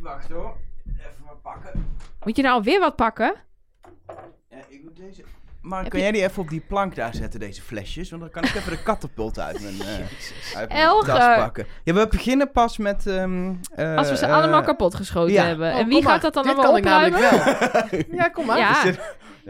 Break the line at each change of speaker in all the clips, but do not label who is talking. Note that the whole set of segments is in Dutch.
Wacht hoor. Even wat pakken.
Moet je nou alweer wat pakken?
Ja, ik moet deze... Maar
Heb
kun
je-
jij die even op die plank daar zetten, deze flesjes? Want dan kan ik even de katapult uit mijn, eh, uit mijn
Elger.
tas pakken. Ja, we beginnen pas met... ehm, eh,
Als we ze
eh,
allemaal kapot geschoten
ja.
hebben.
Oh,
en
kom
wie
maar.
gaat dat dan
Dit
allemaal
kan ik
opruimen?
namelijk wel. ja, kom maar.
Ja.
eh, Is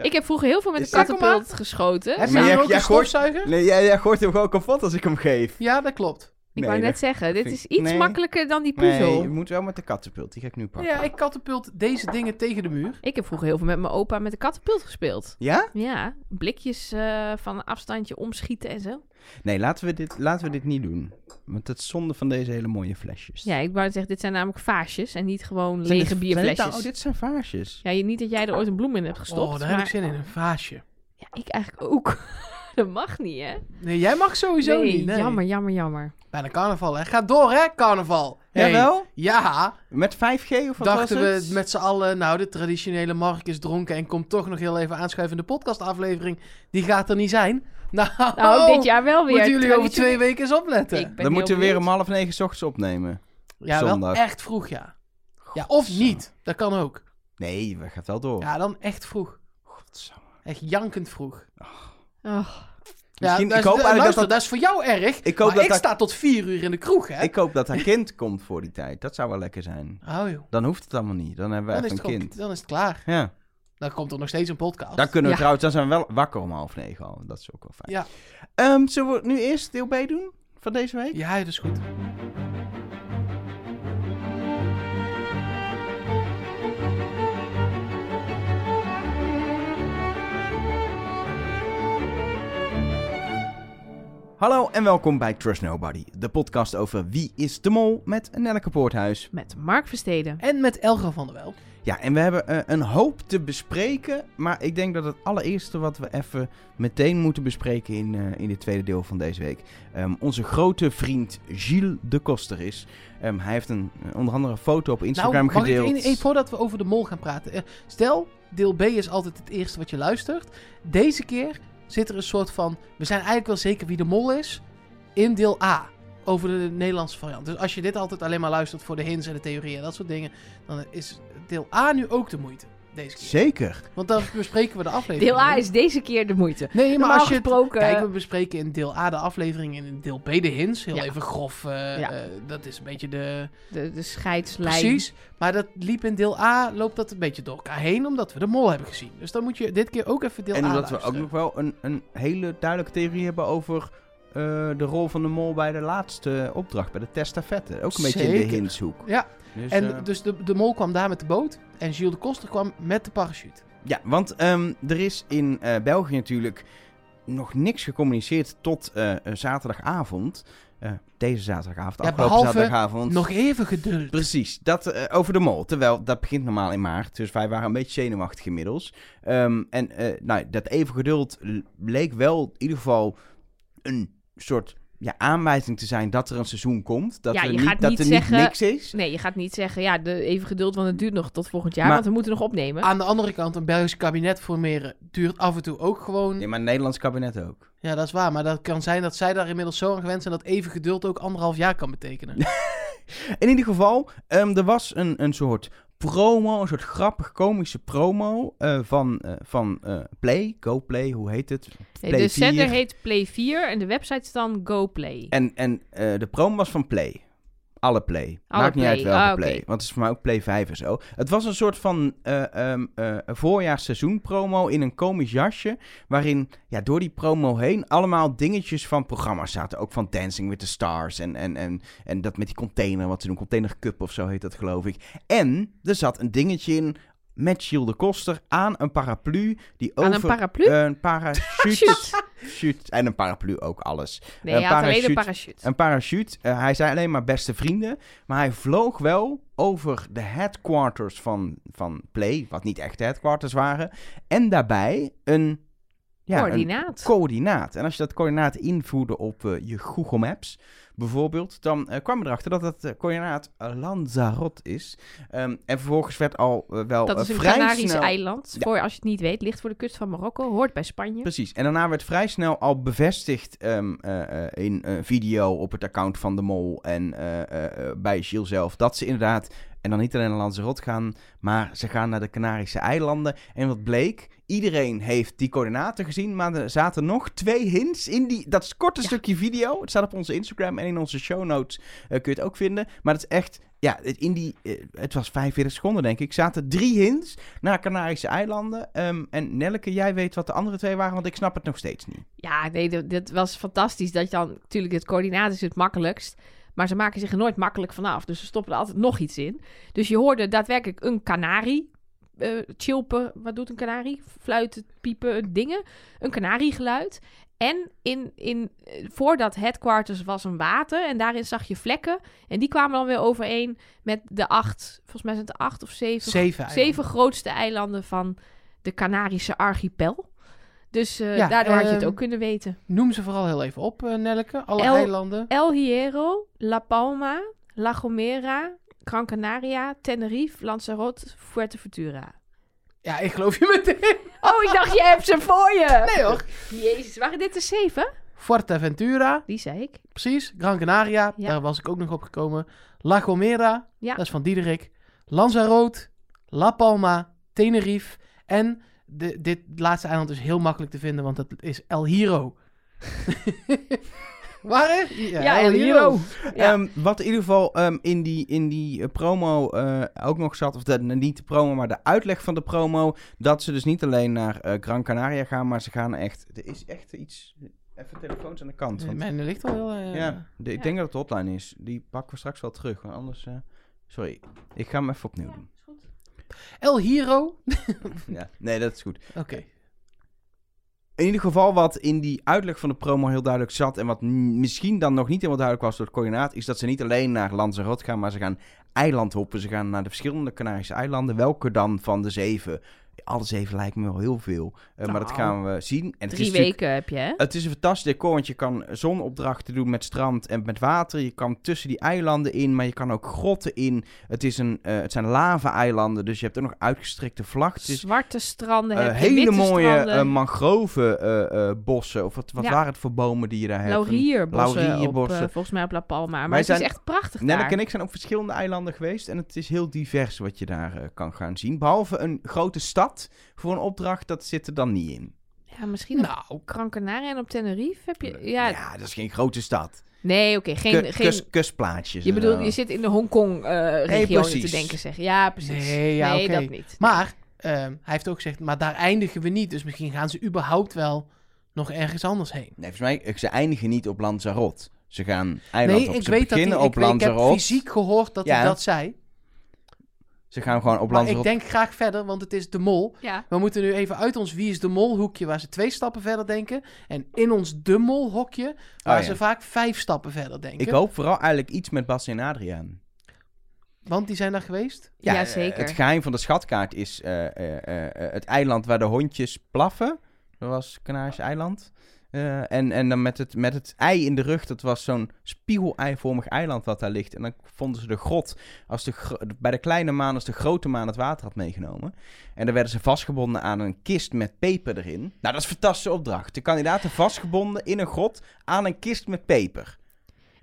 Ik heb vroeger heel veel met een
Is dit-
katapult geschoten.
Heb
Maar
je
jij-
nu ook
jij
een
gooit-
stofzuiger?
Nee, jij, jij gooit hem gewoon kapot als ik hem geef.
Ja, dat klopt.
Ik
Nee,
wou
dat-
net zeggen, dit
vind
is
ik-
iets
nee.
makkelijker dan die puzzel.
Nee, je moet wel met de katapult. Die ga ik nu pakken.
Ja, ik katapult deze dingen tegen de muur.
Ik heb vroeger heel veel met mijn opa met de katapult gespeeld.
Ja?
Ja, blikjes eh, van een afstandje omschieten en zo.
Nee, laten we, dit, laten we dit niet doen. Want dat is zonde van deze hele mooie flesjes.
Ja, ik wou zeggen, dit zijn namelijk vaasjes en niet gewoon
Zijn dit-
lege
zijn dit nou-
bierflesjes.
Oh, dit zijn vaasjes.
Ja, je- niet dat jij er ooit een bloem in hebt gestopt.
oh, daar heb
maar
ik zin in. Een vaasje.
ja, ik eigenlijk ook. dat mag niet, hè?
Nee, jij mag sowieso
nee,
niet. Nee.
jammer, jammer, jammer.
Bijna carnaval, hè. Gaat door, hè, carnaval. Hey.
Jawel?
Ja,
Met 5G of wat
dachten
was
we
het?
met z'n allen, nou, de traditionele Mark is dronken en komt toch nog heel even aanschuiven in de podcastaflevering. Die gaat er niet zijn. Nou,
Nou, dit jaar wel weer.
moeten jullie over
traditioneel-
twee weken eens opletten.
Ik ben
Dan
heel
moeten we weer om
benieuwd.
half negen 's ochtends opnemen.
ja,
zondag.
wel echt vroeg, ja. Ja, of niet. Dat kan ook.
Nee, we gaan wel door.
Ja, dan echt vroeg.
Godsamme.
Echt jankend vroeg.
Och,
Ja,
Misschien-
dat
ik
is-
hoop
eh,
eigenlijk
luister,
dat
dat is voor jou erg.
Ik hoop
maar
dat
ik
dat-
sta tot vier uur in de kroeg, hè?
Ik hoop dat haar kind komt voor die tijd. Dat zou wel lekker zijn.
Oh, joh.
Dan hoeft het allemaal niet. Dan hebben we
Dan is,
echt een
het gewoon-
kind.
dan is het klaar.
Ja.
Dan komt er nog steeds een podcast.
Dan kunnen we
Ja.
trouwens, dan zijn we wel wakker om half negen al. Dat is ook wel fijn.
Ja.
Ehm, zullen we nu eerst deel B doen van deze week?
Ja, dat is goed.
Hallo en welkom bij Trust Nobody, de podcast over wie is de mol met Nelleke Poorthuis.
met Mark Versteden.
En met Elga van der Wel.
Ja, en we hebben eh, een hoop te bespreken, maar ik denk dat het allereerste wat we even meteen moeten bespreken in, eh, in dit tweede deel van deze week, ehm, onze grote vriend Gilles de Koster is. Ehm, hij heeft een, eh, onder andere een foto op Instagram
Nou, mag
gedeeld.
ik één- één- voordat we over de mol gaan praten. eh, Stel, deel B is altijd het eerste wat je luistert. Deze keer zit er een soort van... We zijn eigenlijk wel zeker wie de mol is in deel A. Over de Nederlandse variant. Dus als je dit altijd alleen maar luistert voor de hints en de theorieën en dat soort dingen... Dan is deel A nu ook de moeite. Deze keer.
Zeker.
Want dan bespreken we de aflevering.
Deel A is deze keer de moeite.
Nee, maar
Normaal
als je het
gesproken...
Kijk, we bespreken in deel A de aflevering en in deel B de hints. Heel
Ja.
even grof. eh,
Ja.
eh, dat is een beetje de...
De, de scheidslijn.
Precies. Maar dat liep in deel A, loopt dat een beetje door elkaar heen, omdat we de mol hebben gezien. Dus dan moet je dit keer ook even deel
en
A
omdat we ook
luisteren.
nog wel een, een hele duidelijke theorie hebben over eh, de rol van de mol bij de laatste opdracht, bij de testafette. Ook een beetje in
Zeker.
de hintshoek.
Ja,
Dus,
en
eh,
dus de, de mol kwam daar met de boot en Gilles de Koster kwam met de parachute.
Ja, want ehm, er is in eh, België natuurlijk nog niks gecommuniceerd tot eh, zaterdagavond. Eh, deze zaterdagavond,
Ja,
afgelopen
behalve
zaterdagavond.
Nog even geduld.
Precies, dat eh, over de mol. Terwijl dat begint normaal in maart, dus wij waren een beetje zenuwachtig inmiddels. Ehm, en eh, nou, dat even geduld l- leek wel in ieder geval een soort ja, aanwijzing te zijn dat er een seizoen komt. Dat
Ja,
er
je
niet,
gaat
dat
niet
er
zeggen-
niet niks is.
Nee, je gaat niet zeggen, ja, de, even geduld, want het duurt nog tot volgend jaar,
Maar- Ah,
want we moeten nog opnemen.
Aan de andere kant, een Belgisch kabinet formeren duurt af en toe ook gewoon...
Ja, maar het Nederlands kabinet ook.
Ja, dat is waar. Maar dat kan zijn dat zij daar inmiddels zo aan gewend zijn... dat even geduld ook anderhalf jaar kan betekenen.
In ieder geval, ehm, er was een, een soort promo, een soort grappig komische promo eh, van, eh, van eh, Play, GoPlay, hoe heet het?
Nee,
Play
de zender
4.
heet Play 4 en de website is dan GoPlay.
En, en eh, de promo was van Play. Alle Play.
Alle
Maakt niet
Play,
uit welke
ah, oké.
Play. Want het is voor mij ook Play 5 en zo. Het was een soort van eh ehm eh, voorjaarsseizoen promo in een komisch jasje. Waarin ja, door die promo heen allemaal dingetjes van programma's zaten. Ook van Dancing with the Stars en, en, en, en dat met die container. Wat ze doen, Container Cup of zo heet dat geloof ik. En er zat een dingetje in met Gilles de Koster aan een paraplu. Die
Aan
over eh,
een paraplu?
Een parachute. Shoot. En een paraplu ook alles.
nee,
een
hij had alleen een
parachute.
parachute.
Een parachute. Eh, hij zei alleen maar beste vrienden. Maar hij vloog wel over de headquarters van, van Play. Wat niet echt de headquarters waren. En daarbij een, ja, een
Coördinaat.
coördinaat. En als je dat coördinaat invoerde op eh, je Google Maps. bijvoorbeeld, dan eh, kwam je erachter dat dat eh, coördinaat Lanzarote is. Ehm, en vervolgens werd al eh, wel
Dat
eh,
is een
vrij
Canarisch
snel...
eiland. Voor, als je het niet weet, ligt voor de kust van Marokko, hoort bij Spanje.
Precies. En daarna werd vrij snel al bevestigd ehm, eh, eh, in eh, video op het account van de Mol en eh, eh, eh, bij Gilles zelf. Dat ze inderdaad, en dan niet alleen naar Lanzarote gaan, maar ze gaan naar de Canarische eilanden. En wat bleek, iedereen heeft die coördinaten gezien, maar er zaten nog twee hints in die, dat is korte
Ja.
stukje video. Het staat op onze Instagram en in onze show notes eh, kun je het ook vinden. Maar het is echt, ja, het- in die, eh, het was 45 seconden denk ik, zaten drie hints naar Canarische eilanden. Ehm, en Nelleke, jij weet wat de andere twee waren, want ik snap het nog steeds niet.
Ja, nee, dat, dat was fantastisch. Dat je dan, natuurlijk, het coördinaat is het makkelijkst. Maar ze maken zich er nooit makkelijk vanaf. Dus ze stoppen er altijd nog iets in. Dus je hoorde daadwerkelijk een kanarie. eh, chilpen, wat doet een kanarie? Fluiten, piepen, dingen. Een kanariegeluid. En in, in, eh, voordat headquarters was een water. En daarin zag je vlekken. En die kwamen dan weer overeen met de acht. Volgens mij zijn het acht of zeven
Zeven.
zeven grootste eilanden van de Canarische archipel. Dus eh,
Ja,
daardoor had je het
ehm,
ook kunnen weten.
Noem ze vooral heel even op, eh, Nelleke. Alle
El-
eilanden.
El Hierro, La Palma, La Gomera, Gran Canaria, Tenerife, Lanzarote, Fuerteventura.
Ja, ik geloof je meteen.
Oh, ik dacht, je hebt ze voor je.
Nee hoor.
Jezus, waren dit de zeven?
Fuerteventura,
Die zei ik.
precies. Gran Canaria,
Ja.
daar was ik ook nog op gekomen. La Gomera,
Ja.
dat is van Diederik. Lanzarote, La Palma, Tenerife. En de, dit laatste eiland is heel makkelijk te vinden, want dat is El Hierro. Waar hè?
Ja.
Ehm, wat in ieder geval ehm, in die, in die eh, promo eh, ook nog zat, of de, nou, niet de promo, maar de uitleg van de promo, dat ze dus niet alleen naar eh, Gran Canaria gaan, maar ze gaan echt, er is echt iets, even telefoons aan de kant.
Eh,
Want,
Mijn ligt al heel... eh,
ja, de- ik
Ja.
denk dat het de hotline is. Die pakken we straks wel terug, want anders, eh, sorry, ik ga hem even opnieuw doen.
El Hierro.
Ja, nee, dat is goed.
Oké.
In ieder geval wat in die uitleg van de promo heel duidelijk zat... en wat m- misschien dan nog niet helemaal duidelijk was door het coördinaat... is dat ze niet alleen naar Lanzarote gaan, maar ze gaan eilandhoppen. Ze gaan naar de verschillende Canarische eilanden. Welke dan van de zeven? Alle zeven lijkt me wel heel veel. Eh, Maar dat gaan
Nou,
we zien. En het is
Drie
natuurlijk-
weken heb je, hè?
het is een fantastisch decor, want je kan zonopdrachten doen met strand en met water. Je kan tussen die eilanden in, maar je kan ook grotten in. Het, is een, eh, het zijn lava-eilanden, dus je hebt ook nog uitgestrekte vlag. Het is
Zwarte stranden
eh,
heb je,
hele
witte
mooie
stranden.
eh, mangrovenbossen. of wat, wat
Ja.
waren het voor bomen die je daar hebt?
laurierbossen,
laurierbossen.
Op, eh, volgens mij op La Palma. Maar
Wij
het is
zijn-
echt prachtig daar.
Nelleke en ik zijn op verschillende eilanden geweest. En het is heel divers wat je daar eh, kan gaan zien. Behalve een grote stad voor een opdracht, dat zit er dan niet in.
Ja, misschien op
Nou,
Gran Canaria en op Tenerife heb je... Ja,
dat is geen grote stad.
nee, oké. geen,
Ku-
geen,
kus- kusplaatjes. eh.
je
en
bedoelt,
zo.
je zit in de eh, Hongkong-regio te
precies.
denken, zeg. Ja, precies.
Nee, ja, oké.
dat niet.
Maar ehm, hij heeft ook gezegd, maar daar eindigen we niet. Dus misschien gaan ze überhaupt wel nog ergens anders heen.
Nee, volgens mij, eh, ze eindigen niet op Lanzarote. Ze gaan eiland
nee,
op.
ik
Ze
weet dat hij,
beginnen
ik,
op
weet, ik heb
Lanzarote.
fysiek gehoord dat
Ja.
hij dat zei.
Ze gaan gewoon op
Maar ik
Lanzarote.
denk graag verder, want het is de mol.
ja.
We moeten nu even uit ons Wie is de Mol hoekje, waar ze twee stappen verder denken. En in ons De Mol hokje, waar
Ah, ja.
ze vaak vijf stappen verder denken.
Ik hoop vooral eigenlijk iets met Bas en Adriaan.
Want die zijn daar geweest.
Ja,
eh,
zeker.
Het geheim van de schatkaart is eh, eh, eh, eh, het eiland waar de hondjes plaffen. Dat was Canarische eiland. Eh, en, en dan met het, met het ei in de rug, dat was zo'n spiegeleivormig eiland wat daar ligt. En dan vonden ze de grot als de, gro- bij de kleine maan als de grote maan het water had meegenomen. En dan werden ze vastgebonden aan een kist met peper erin. Nou, dat is een fantastische opdracht. De kandidaten vastgebonden in een grot aan een kist met peper.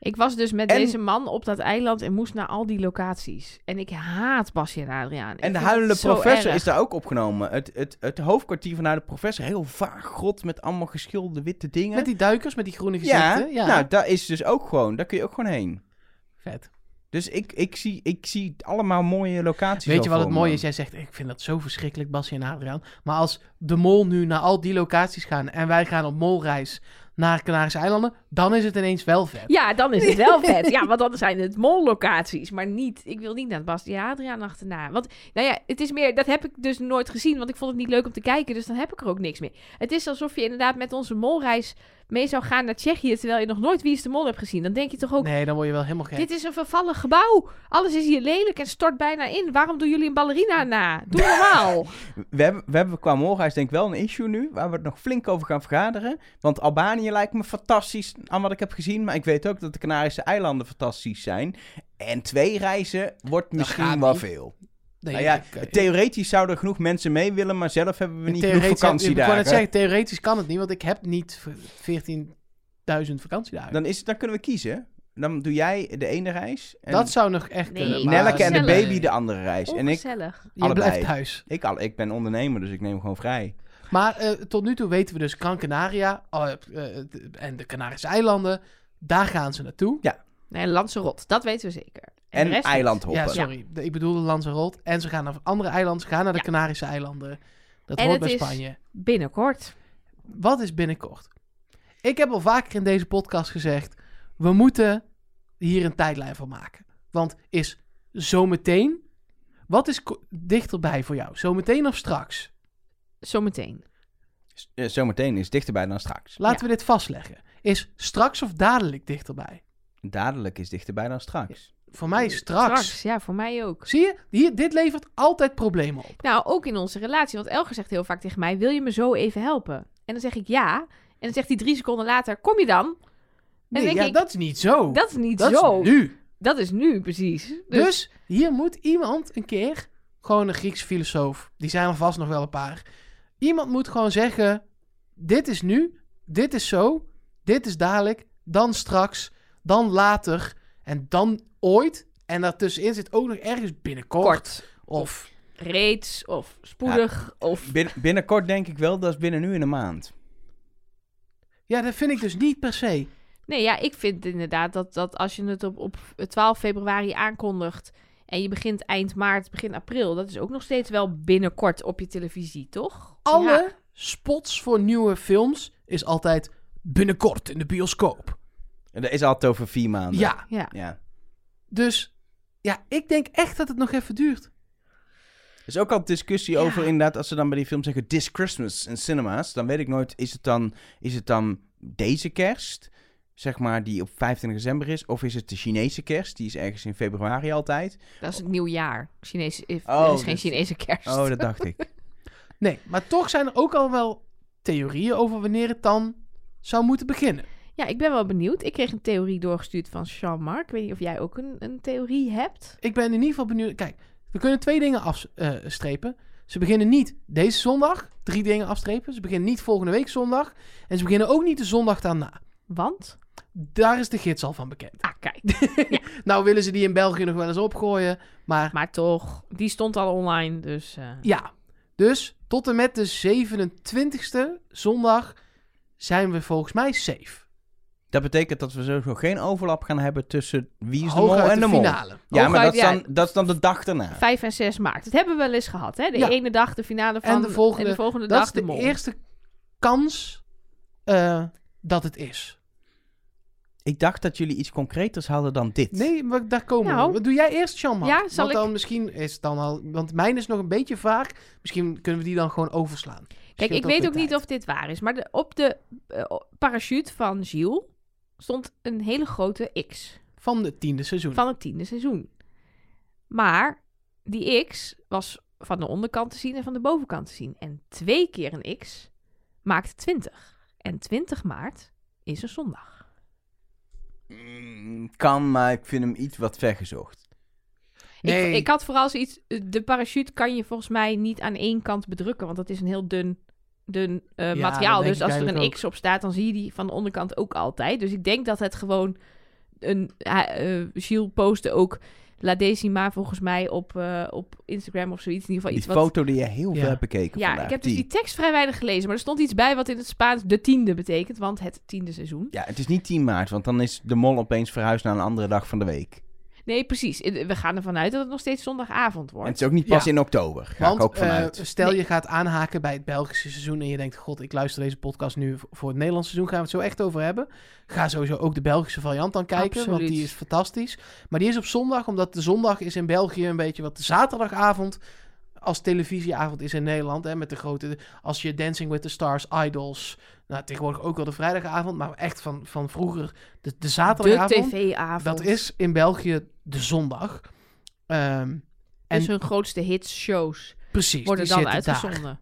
Ik was dus met
En-
deze man op dat eiland en moest naar al die locaties. En ik haat Basje en Adriaan.
En
Ik
de
vind het
huilende
zo
professor
erg.
is daar ook opgenomen. Het, het, het hoofdkwartier van de huilende professor, heel vaag grot met allemaal geschilderde witte dingen.
Met die duikers, met die groene
ja,
gezichten. Ja,
nou, daar is dus ook gewoon, daar kun je ook gewoon heen.
vet.
Dus ik, ik, zie, ik zie allemaal mooie locaties.
Weet je
al
wat het
voor me.
mooie is? Jij zegt, ik vind dat zo verschrikkelijk, Basje en Adriaan. Maar als de mol nu naar al die locaties gaan en wij gaan op molreis naar Canarische eilanden, dan is het ineens wel vet.
Ja, dan is het wel vet. Ja, want dan zijn het mollocaties. Maar niet, ik wil niet naar Bas en Adriaan achterna. Want, nou ja, het is meer, dat heb ik dus nooit gezien. Want ik vond het niet leuk om te kijken. Dus dan heb ik er ook niks mee. Het is alsof je inderdaad met onze molreis mee zou gaan naar Tsjechië terwijl je nog nooit Wie is de Mol hebt gezien, dan denk je toch ook,
Nee, dan word je wel helemaal gek.
dit is een vervallen gebouw. Alles is hier lelijk en stort bijna in. Waarom doen jullie een ballerina na? Doe normaal.
We hebben, we hebben qua molhuis denk ik wel een issue nu, waar we het nog flink over gaan vergaderen. Want Albanië lijkt me fantastisch aan wat ik heb gezien, maar ik weet ook dat de Canarische eilanden fantastisch zijn. En twee reizen wordt
gaat
misschien wel
niet.
veel.
Nee,
nou ja,
ik-
theoretisch zouden er genoeg mensen mee willen, maar zelf hebben we niet genoeg
Theoretisch- Ik wou
vakantiedagen.
net zeggen, theoretisch kan het niet, want ik heb niet v- 14.000 vakantiedagen.
dan, is het, dan kunnen we kiezen. Dan doe jij de ene reis. En
dat zou nog echt
Nee,
kunnen. maar-
Nelleke en de
Gezellig.
baby de andere reis. Dus En ik,
Ongezellig.
Je
allebei.
blijft thuis.
ik, al, ik ben ondernemer, dus ik neem gewoon vrij.
Maar eh, tot nu toe weten we dus Gran Canaria oh, eh, eh, de- en de Canarische eilanden. Daar gaan ze naartoe.
Nee, Lanserot, dat weten we zeker. de
En
rest niet.
eilandhoppen.
Ja, sorry. De- Ik bedoelde Lanzarote. En ze gaan naar andere eilanden. Ze gaan naar de
Ja.
Canarische eilanden. Dat
En
hoort
het
bij
is-
Spanje.
Binnenkort.
Wat is binnenkort? Ik heb al vaker in deze podcast gezegd... we moeten hier een tijdlijn van maken. Want is zometeen... wat is ko- dichterbij voor jou? Zometeen of straks?
Zometeen.
S- eh, Zometeen is dichterbij dan straks.
Laten we dit vastleggen. Is straks of dadelijk dichterbij?
Dadelijk is dichterbij dan straks.
Voor mij straks.
Ja, voor mij ook.
Zie je? Hier, dit levert altijd problemen op.
Nou, ook in onze relatie. Want Elger zegt heel vaak tegen mij: Wil je me zo even helpen? En dan zeg ik ja. En dan zegt hij drie seconden later: Kom je dan?
Nee,
denk
ja,
ik-
dat is niet zo.
Dat is niet
Dat
zo.
is nu.
Dat is nu precies. Dus,
Dus, hier moet iemand een keer, gewoon een Griekse filosoof, die zijn er vast nog wel een paar. Iemand moet gewoon zeggen: dit is nu, dit is zo, dit is dadelijk, dan straks, dan later en dan ooit. En daartussenin zit ook nog ergens binnenkort.
kort.
Of
Reeds of spoedig of.
Bin- binnenkort denk ik wel, dat is binnen nu in een maand.
ja, dat vind ik dus niet per se.
Nee, ja, ik vind inderdaad dat, dat als je het op, op 12 februari aankondigt. en je begint eind maart, begin april. dat is ook nog steeds wel binnenkort op je televisie, toch?
Alle
Ja.
spots voor nieuwe films is altijd binnenkort in de bioscoop.
En dat is altijd over vier maanden.
Ja,
ja.
ja.
dus ja, ik denk echt dat het nog even duurt.
Er is ook al discussie
Ja.
over inderdaad, als ze dan bij die film zeggen This Christmas in cinema's, dan weet ik nooit, is het dan, is het dan deze kerst, zeg maar, die op 25 december is, of is het de Chinese kerst, die is ergens in februari altijd.
Dat is het nieuwjaar. Chinees, if-
Oh,
er is geen
dus-
Chinese kerst.
Oh, dat dacht ik.
Nee, maar toch zijn er ook al wel theorieën over wanneer het dan zou moeten beginnen.
Ja, ik ben wel benieuwd. Ik kreeg een theorie doorgestuurd van Jean-Marc. Ik weet niet of jij ook een, een theorie hebt.
Ik ben in ieder geval benieuwd. Kijk, we kunnen twee dingen afstrepen. Ze beginnen niet deze zondag, drie dingen afstrepen. Ze beginnen niet volgende week zondag. En ze beginnen ook niet de zondag daarna.
Want?
Daar is de gids al van bekend.
Ah, kijk.
Nou willen ze die in België nog wel eens opgooien. Maar
Maar toch, die stond al online, dus... eh,
ja, dus tot en met de 27e zondag zijn we volgens mij safe.
Dat betekent dat we sowieso geen overlap gaan hebben tussen wie is de mol
Hooguit
en de, mol.
finale.
Ja, maar dat
Hooguit,
is,
ja.
dan, dat is dan de dag daarna.
5 en 6 maart. Dat hebben we wel eens gehad, hè? De
Ja.
ene dag de finale van...
En de volgende- dat
dag
is de
mol.
eerste kans eh, dat het is.
Ik dacht dat jullie iets concreters hadden dan dit.
Nee, maar daar komen
Nou.
we. Doe jij eerst, Shamma?
Ja, zal
Want dan
ik?
misschien is het dan al... Want mijn is nog een beetje vaag. Misschien kunnen we die dan gewoon overslaan.
Kijk,
Scheelt
ik weet
weer
ook niet
tijd.
of dit waar is, maar de, op de eh, parachute van Gilles stond een hele grote X.
Van het tiende seizoen.
van het tiende seizoen. Maar die X was van de onderkant te zien en van de bovenkant te zien. En twee keer een X maakt 20. En 20 maart is een zondag.
Mm, Kan, maar ik vind hem iets wat vergezocht.
Nee.
Ik, ik had vooral zoiets. De parachute kan je volgens mij niet aan één kant bedrukken, want dat is een heel dun, dun eh,
dat
materiaal.
denk
Dus
ik
als er een
eigenlijk
X op staat, dan zie je die van de onderkant ook altijd. Dus ik denk dat het gewoon een. hij- eh Gilles postte ook La Decima volgens mij op, eh, op Instagram of zoiets. In ieder geval
Die
iets wat.
foto die je heel
Ja.
veel hebt bekeken
Ja,
vandaag,
ik heb dus die tekst vrij weinig gelezen, maar er stond iets bij wat in het Spaans de tiende betekent, want het tiende seizoen.
Ja, het is niet 10 maart, want dan is de mol opeens verhuisd naar een andere dag van de week.
Nee, precies. I- We gaan ervan uit dat het nog steeds zondagavond
En het
wordt.
is ook niet pas
Ja.
in oktober. Ga
Want
ik ook
eh,
vanuit.
stel
Nee.
je gaat aanhaken bij het Belgische seizoen en je denkt, god, ik luister deze podcast nu v- voor het Nederlandse seizoen, gaan we het zo echt over hebben. Ga sowieso ook de Belgische variant dan kijken, want
Absoluut.
die is fantastisch. Maar die is op zondag, omdat de zondag is in België een beetje wat de zaterdagavond als televisieavond is in Nederland. Hè, met de grote, als je Dancing with the Stars, Idols. Nou, tegenwoordig ook wel de vrijdagavond, maar echt van, van vroeger de, de
De
zaterdagavond.
tv-avond.
Dat is in België de zondag. Ehm, en-
Dus hun grootste hits-shows
precies.
worden
die
dan
zitten daar.
uitgezonden.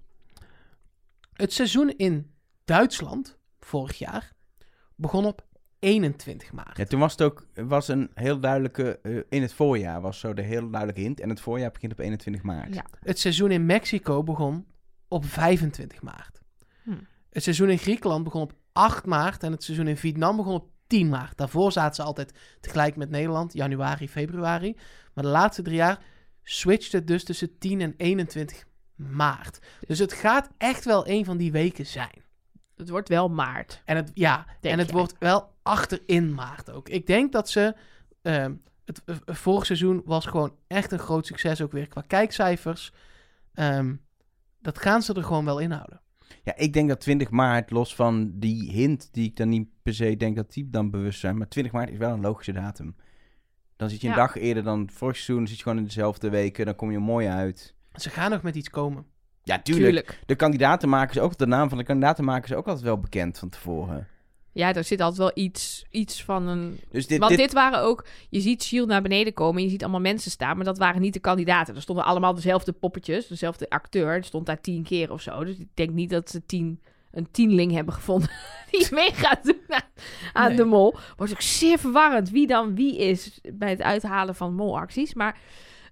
Het seizoen in Duitsland vorig jaar begon op 21 maart.
Ja, toen was het ook was een heel duidelijke. eh, in het voorjaar was zo de heel duidelijke hint. En het voorjaar begint op 21 maart.
Ja.
Het seizoen in Mexico begon op 25 maart.
Hm.
Het seizoen in Griekenland begon op 8 maart en het seizoen in Vietnam begon op 10 maart. Daarvoor zaten ze altijd tegelijk met Nederland, januari, februari. Maar de laatste drie jaar switcht het dus tussen 10 en 21 maart. Dus het gaat echt wel een van die weken zijn.
Het wordt wel maart.
En het, ja,
Denk
en het
jij?
wordt wel achterin maart ook. Ik denk dat ze. ehm, het eh, vorig seizoen was gewoon echt een groot succes, ook weer qua kijkcijfers. Ehm, dat gaan ze er gewoon wel inhouden.
Ja, ik denk dat 20 maart, los van die hint die ik dan niet per se denk dat die dan bewust zijn, maar 20 maart is wel een logische datum. Dan zit je een
Ja.
dag eerder dan vorig seizoen, dan zit je gewoon in dezelfde weken, dan kom je mooi uit.
Ze gaan nog met iets komen.
Ja, tuurlijk. De kandidatenmakers ook, de naam van de kandidatenmakers is ook altijd wel bekend van tevoren.
Ja, daar zit altijd wel iets, iets van een...
Dus dit,
Want
dit,
dit... waren ook... Je ziet Shield naar beneden komen. Je ziet allemaal mensen staan. Maar dat waren niet de kandidaten. Er stonden allemaal dezelfde poppetjes. Dezelfde acteur. Die stond daar tien keer of zo. Dus ik denk niet dat ze tien, een tienling hebben gevonden. Die mee gaat doen aan, aan
Nee.
de mol. Wordt ook zeer verwarrend. Wie dan wie is bij het uithalen van molacties. Maar...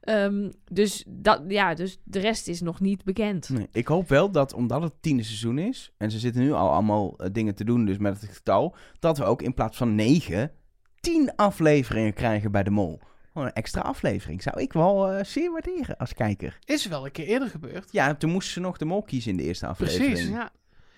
ehm, dus, dat, ja, dus de rest is nog niet bekend.
Nee, ik hoop wel dat, omdat het tiende seizoen is, en ze zitten nu al allemaal eh, dingen te doen, dus met het getal, dat we ook in plaats van negen, tien afleveringen krijgen bij de mol. Gewoon een extra aflevering. Zou ik wel eh, zeer waarderen als kijker.
Is wel een keer eerder gebeurd.
Ja, toen moest ze nog de mol kiezen in de eerste aflevering.
Precies.
Ja,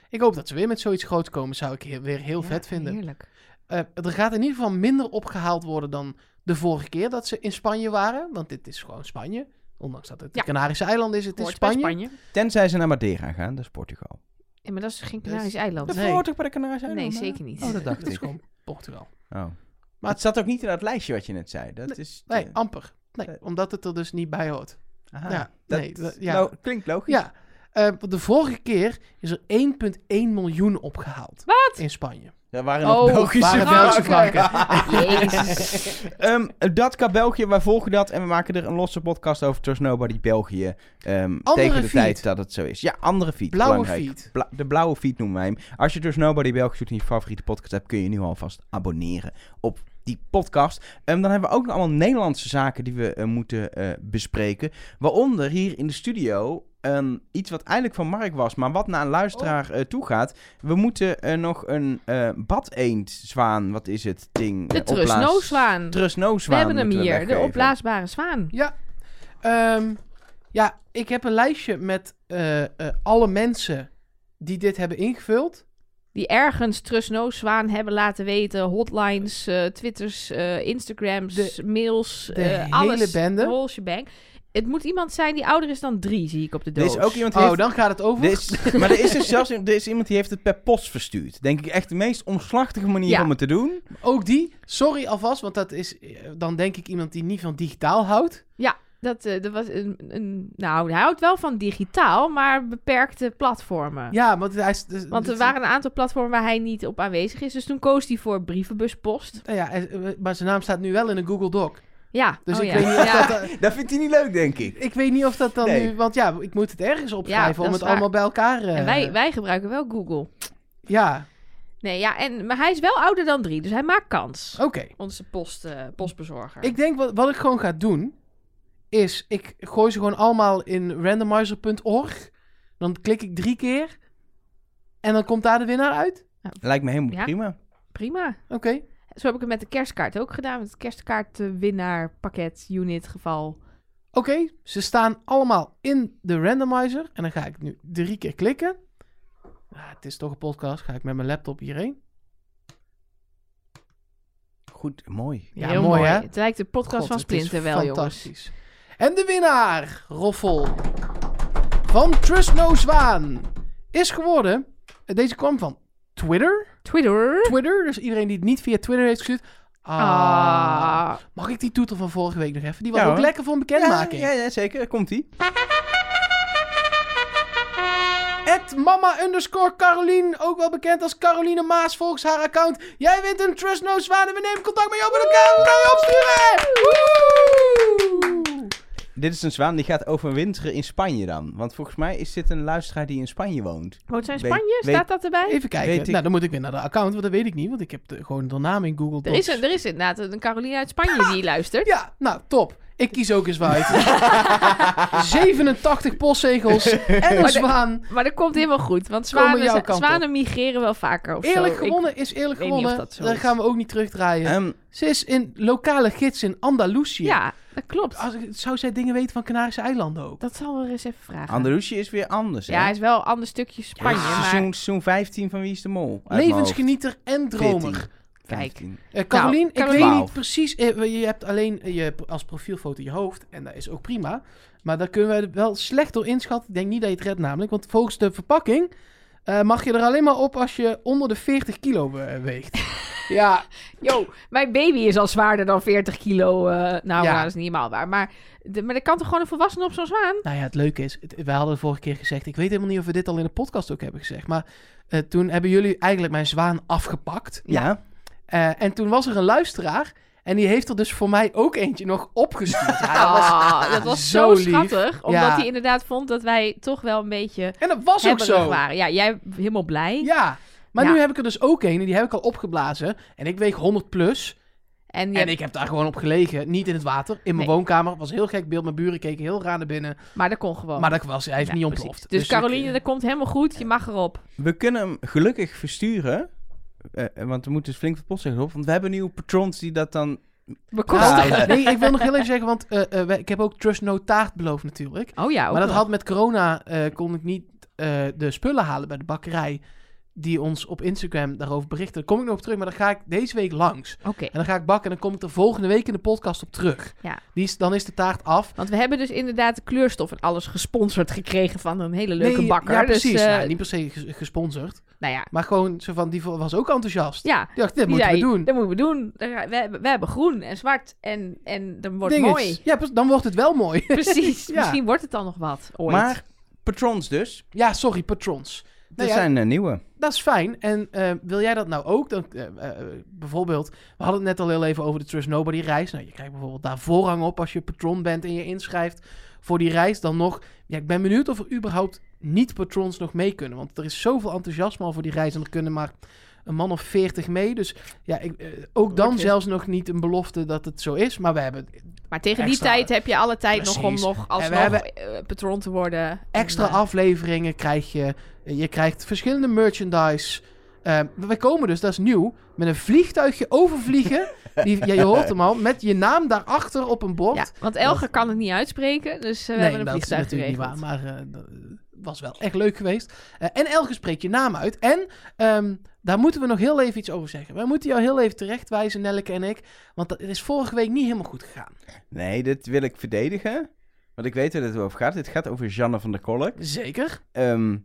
Ik hoop dat ze weer met zoiets groots komen. Zou ik he- weer heel
Ja,
vet vinden.
Heerlijk.
Eh, er gaat in ieder geval minder opgehaald worden dan de vorige keer dat ze in Spanje waren. Want dit is gewoon Spanje. Ondanks dat het
Ja.
de Canarische eilanden is, het is
Hoort bij
Spanje.
Spanje.
Tenzij ze naar Madeira gaan, dat is Portugal.
Ja, maar dat is geen
Dus-
Canarisch eiland.
Dat
Nee.
hoort toch bij de Canarische
Nee,
eilanden?
zeker niet.
Oh, dat dacht
Het is
ik.
gewoon Portugal.
Oh. Maar
Maar-
het zat ook niet in dat lijstje wat je net zei. Dat is...
Nee,
eh,
amper. Nee,
Nee.
omdat het er dus niet bij hoort.
aha.
ja,
Ah, dat nou,
nee, dat- ja.
lo- klinkt logisch.
Ja, eh, want de vorige keer is er 1,1 miljoen opgehaald.
Wat?
In Spanje. nou
Daar waren nog
Oh,
Belgische
waren Belgische
Jezus.
Ehm, dat kan België, wij volgen dat. En we maken er een losse podcast over Trust Nobody België. ehm,
Andere
tegen de
feed.
tijd dat het zo is. Ja, andere feed.
Blauwe
belangrijk.
feed.
Bla- de blauwe feed noemen wij hem. Als je Trust Nobody België zoekt in je favoriete podcast hebt, kun je je nu alvast abonneren op die podcast. Ehm, dan hebben we ook nog allemaal Nederlandse zaken die we eh, moeten eh, bespreken. Waaronder hier in de studio ehm, iets wat eigenlijk van Mark was, maar wat naar een luisteraar eh,
Oh.
toe toegaat. We moeten eh, nog een eh badeenzwaan, wat is het ding?
De
eh, opblaas-
Trusno-zwaan. We
Trusno-zwaan
hebben hem
moeten we
hier, de
weggeven.
opblaasbare zwaan.
Ja. Ehm, ja, ik heb een lijstje met eh, eh, alle mensen die dit hebben ingevuld.
Die ergens Trusno-zwaan hebben laten weten. Hotlines, eh, twitters, eh, Instagrams,
De-
mails.
de
eh,
hele
alles.
bende.
De whole shebang. Het moet iemand zijn die ouder is dan drie, zie ik op de
Er
doos.
is ook iemand die
Oh,
heeft-
dan gaat het over.
er is- maar er is er zelfs er is iemand die heeft het per post verstuurd. Denk ik echt de meest omslachtige manier
Ja.
om het te doen.
Ook die. Sorry alvast, want dat is eh, dan denk ik iemand die niet van digitaal houdt.
Dat, eh, dat was een, een... Nou, hij houdt wel van digitaal, maar beperkte platformen.
Ja, want hij is. dus-
Want er
dit-
waren een aantal platformen waar hij niet op aanwezig is. Dus toen koos hij voor brievenbuspost.
Nou ja, hij- eh, maar zijn naam staat nu wel in een Google Doc.
Ja,
Dus
oh
ik
ja.
weet niet of
Ja.
dat.
Dat vindt hij niet leuk, denk ik.
Ik weet niet of dat dan
Nee.
nu... Want ja, ik moet het ergens
Ja,
opschrijven
dat
om
is
het
waar.
allemaal bij elkaar... eh,
En wij, wij gebruiken wel Google.
Ja,
Nee, ja, en, maar hij is wel ouder dan drie, dus hij maakt kans.
oké.
Onze post, eh, postbezorger.
Ik denk wat, wat ik gewoon ga doen... is ik gooi ze gewoon allemaal in randomizer.org. Dan klik ik drie keer. En dan komt daar de winnaar uit.
Lijkt me helemaal
Ja.
prima.
Prima.
Oké.
Zo heb ik het met de kerstkaart ook gedaan. Met het kerstkaart eh, winnaar pakket unit geval.
Oké, ze staan allemaal in de randomizer. En dan ga ik nu drie keer klikken. Ah, het is toch een podcast. Ga ik met mijn laptop hierheen.
Goed, mooi.
Ja, mooi, hè?
Het lijkt de podcast
God,
van
het is
Splinter wel, jongens.
fantastisch. En de winnaar, Roffel, van Trust No Zwaan, is geworden... eh, Deze kwam van Twitter.
Twitter.
Twitter, dus iedereen die het niet via Twitter heeft gestuurd. Ah,
Ah.
Mag ik die toeter van vorige week nog even? Die was
Ja,
ook
hoor.
lekker voor een
Ja,
bekendmaking.
ja, ja, zeker. Komt-ie.
At mama underscore Carolien, ook wel bekend als Caroline Maas, volgens haar account. Jij wint een Trust No Zwaan en we nemen contact met jou bij de kamer. Kan je opsturen? Woe!
Dit is een zwaan die gaat overwinteren in Spanje dan. Want volgens mij is dit een luisteraar die in Spanje woont.
Woont zij in
Weet-
Oh, Spanje?
weet-
Staat dat erbij?
Even kijken.
Weet ik-
Nou, dan moet ik weer naar de account, want dat weet ik niet, want ik heb de- gewoon de naam in Google
Er
Docs.
is, een- er is inderdaad een Caroline uit Spanje die luistert.
Ah. Ja, nou, top. Ik kies ook een zwaan. 87 postzegels en een
Maar de-
zwaan.
Maar dat komt helemaal goed, want
Komen
zwanen,
jouw
zijn-
kant op.
zwanen migreren wel vaker of zo.
Eerlijk
Ik-
gewonnen is eerlijk
weet niet
gewonnen.
of dat zo
dat
is.
gaan we ook niet terugdraaien.
Ehm,
Ze is in lokale gids in Andalusië.
ja, dat klopt.
Als, ik- zou zij dingen weten van Canarische eilanden ook?
Dat zal we eens even vragen.
Andalusië is weer anders.
ja,
hè?
hij is wel een ander stukje Spanje,
Ja,
maar...
seizoen, seizoen 15 van Wie is de Mol? Uit
Levensgenieter en
mijn hoofd.
dromer.
14, 15.
Eh Carolien, ik
Carolien.
weet niet
Twaalf.
precies. eh, je hebt alleen eh, je, als profielfoto je hoofd. En dat is ook prima. Maar daar kunnen we er wel slecht door inschatten. Ik denk niet dat je het redt namelijk. Want volgens de verpakking eh, mag je er alleen maar op als je onder de 40 kilo we- weegt. ja,
Yo, mijn baby is al zwaarder dan 40 kilo. eh, nou,
Ja.
nou, dat is niet helemaal waar. Maar, de, maar er kan toch gewoon een volwassene op zo'n zwaan?
Nou ja, het leuke is, het- we hadden de vorige keer gezegd, ik weet helemaal niet of we dit al in de podcast ook hebben gezegd, maar eh, toen hebben jullie eigenlijk mijn zwaan afgepakt.
Ja.
Eh, en toen was er een luisteraar en die heeft er dus voor mij ook eentje nog opgestuurd. Ja, dat was-
Ah, dat was
zo
zo,
lief.
schattig. Omdat
Ja.
hij inderdaad vond dat wij toch wel een beetje
En dat was ook
hebberig
zo.
waren. Ja, jij helemaal blij.
Ja, maar
Ja.
nu heb ik er dus ook een en die heb ik al opgeblazen en ik weeg 100 plus
En, je
en ik heb daar gewoon op gelegen, niet in het water, in mijn
Nee.
woonkamer. Was een heel gek beeld, mijn buren keken heel raar naar binnen,
Maar dat kon gewoon.
maar dat was, hij is
Oh. Ja,
niet
precies.
ontploft.
Dus,
ik, eh,
Caroline, dat komt helemaal goed. Je mag erop.
We kunnen hem gelukkig versturen. Eh, eh, want we moeten dus flink wat postzegels op. Want we hebben nieuwe patrons die dat dan...
Bekostigen.
Ja.
Nou, nee, ik wil nog heel even zeggen, want eh, eh, wij- ik heb ook Trust No Taart beloofd natuurlijk.
Oh ja, ook
Maar dat
nog.
had met corona, eh, kon ik niet eh, de spullen halen bij de bakkerij die ons op Instagram daarover berichtte. Daar kom ik nog op terug, maar dan ga ik deze week langs.
Oké,
En dan ga ik bakken en dan kom ik er volgende week in de podcast op terug.
Ja.
Die is, dan is de taart af.
want we hebben dus inderdaad de kleurstof en alles gesponsord gekregen van een hele leuke
Nee,
bakker.
Ja, precies.
Dus, eh,
Nou, niet per se ges- gesponsord,
Nou ja,
maar gewoon zo van, die vo- was ook enthousiast.
ja.
Die dacht, dit moeten
zei,
we doen.
Dat moeten we doen. Er- We, hebben- we hebben groen en zwart en, en dan wordt het
Dinges.
mooi.
Ja, precies, dan wordt het wel mooi.
Precies.
Ja.
Misschien wordt het dan nog wat ooit.
Maar patrons dus.
ja, sorry, patrons.
Er
Nou ja,
zijn eh, nieuwe.
Dat is fijn. En eh, wil jij dat nou ook? Dan, eh, eh, bijvoorbeeld, we hadden het net al heel even over de Trust Nobody reis. Nou, je krijgt bijvoorbeeld daar voorrang op als je patron bent en je inschrijft voor die reis. Dan nog, ja, ik ben benieuwd of er überhaupt niet-patrons nog mee kunnen. Want er is zoveel enthousiasme al voor die reis en er kunnen maar een man of veertig mee. Dus ja, ik, eh, ook dan
Wordt
zelfs nog niet een belofte dat het zo is. Maar we hebben
Maar tegen die
Extra.
tijd heb je alle tijd nog om
Precies.
nog alsnog
hebben-
eh, patroon te worden.
extra
En, eh,
afleveringen krijg je. Je krijgt verschillende merchandise. Eh, we komen dus, dat is nieuw, met een vliegtuigje overvliegen. Die, ja, je hoort hem al. Met je naam daarachter op een bord.
ja, want Elger kan het niet uitspreken, dus eh, we hebben een
dat is
vliegtuig
natuurlijk niet
geregeld.
waar. Maar eh, dat was wel echt leuk geweest. Eh, en Elke spreekt je naam uit. En ehm, daar moeten we nog heel even iets over zeggen. Wij moeten jou heel even terechtwijzen, Nelleke en ik. Want dat is vorige week niet helemaal goed gegaan.
Nee, dit wil ik verdedigen. Want ik weet waar het over gaat. Dit gaat over Janne van der Kolk.
Zeker.
Ehm,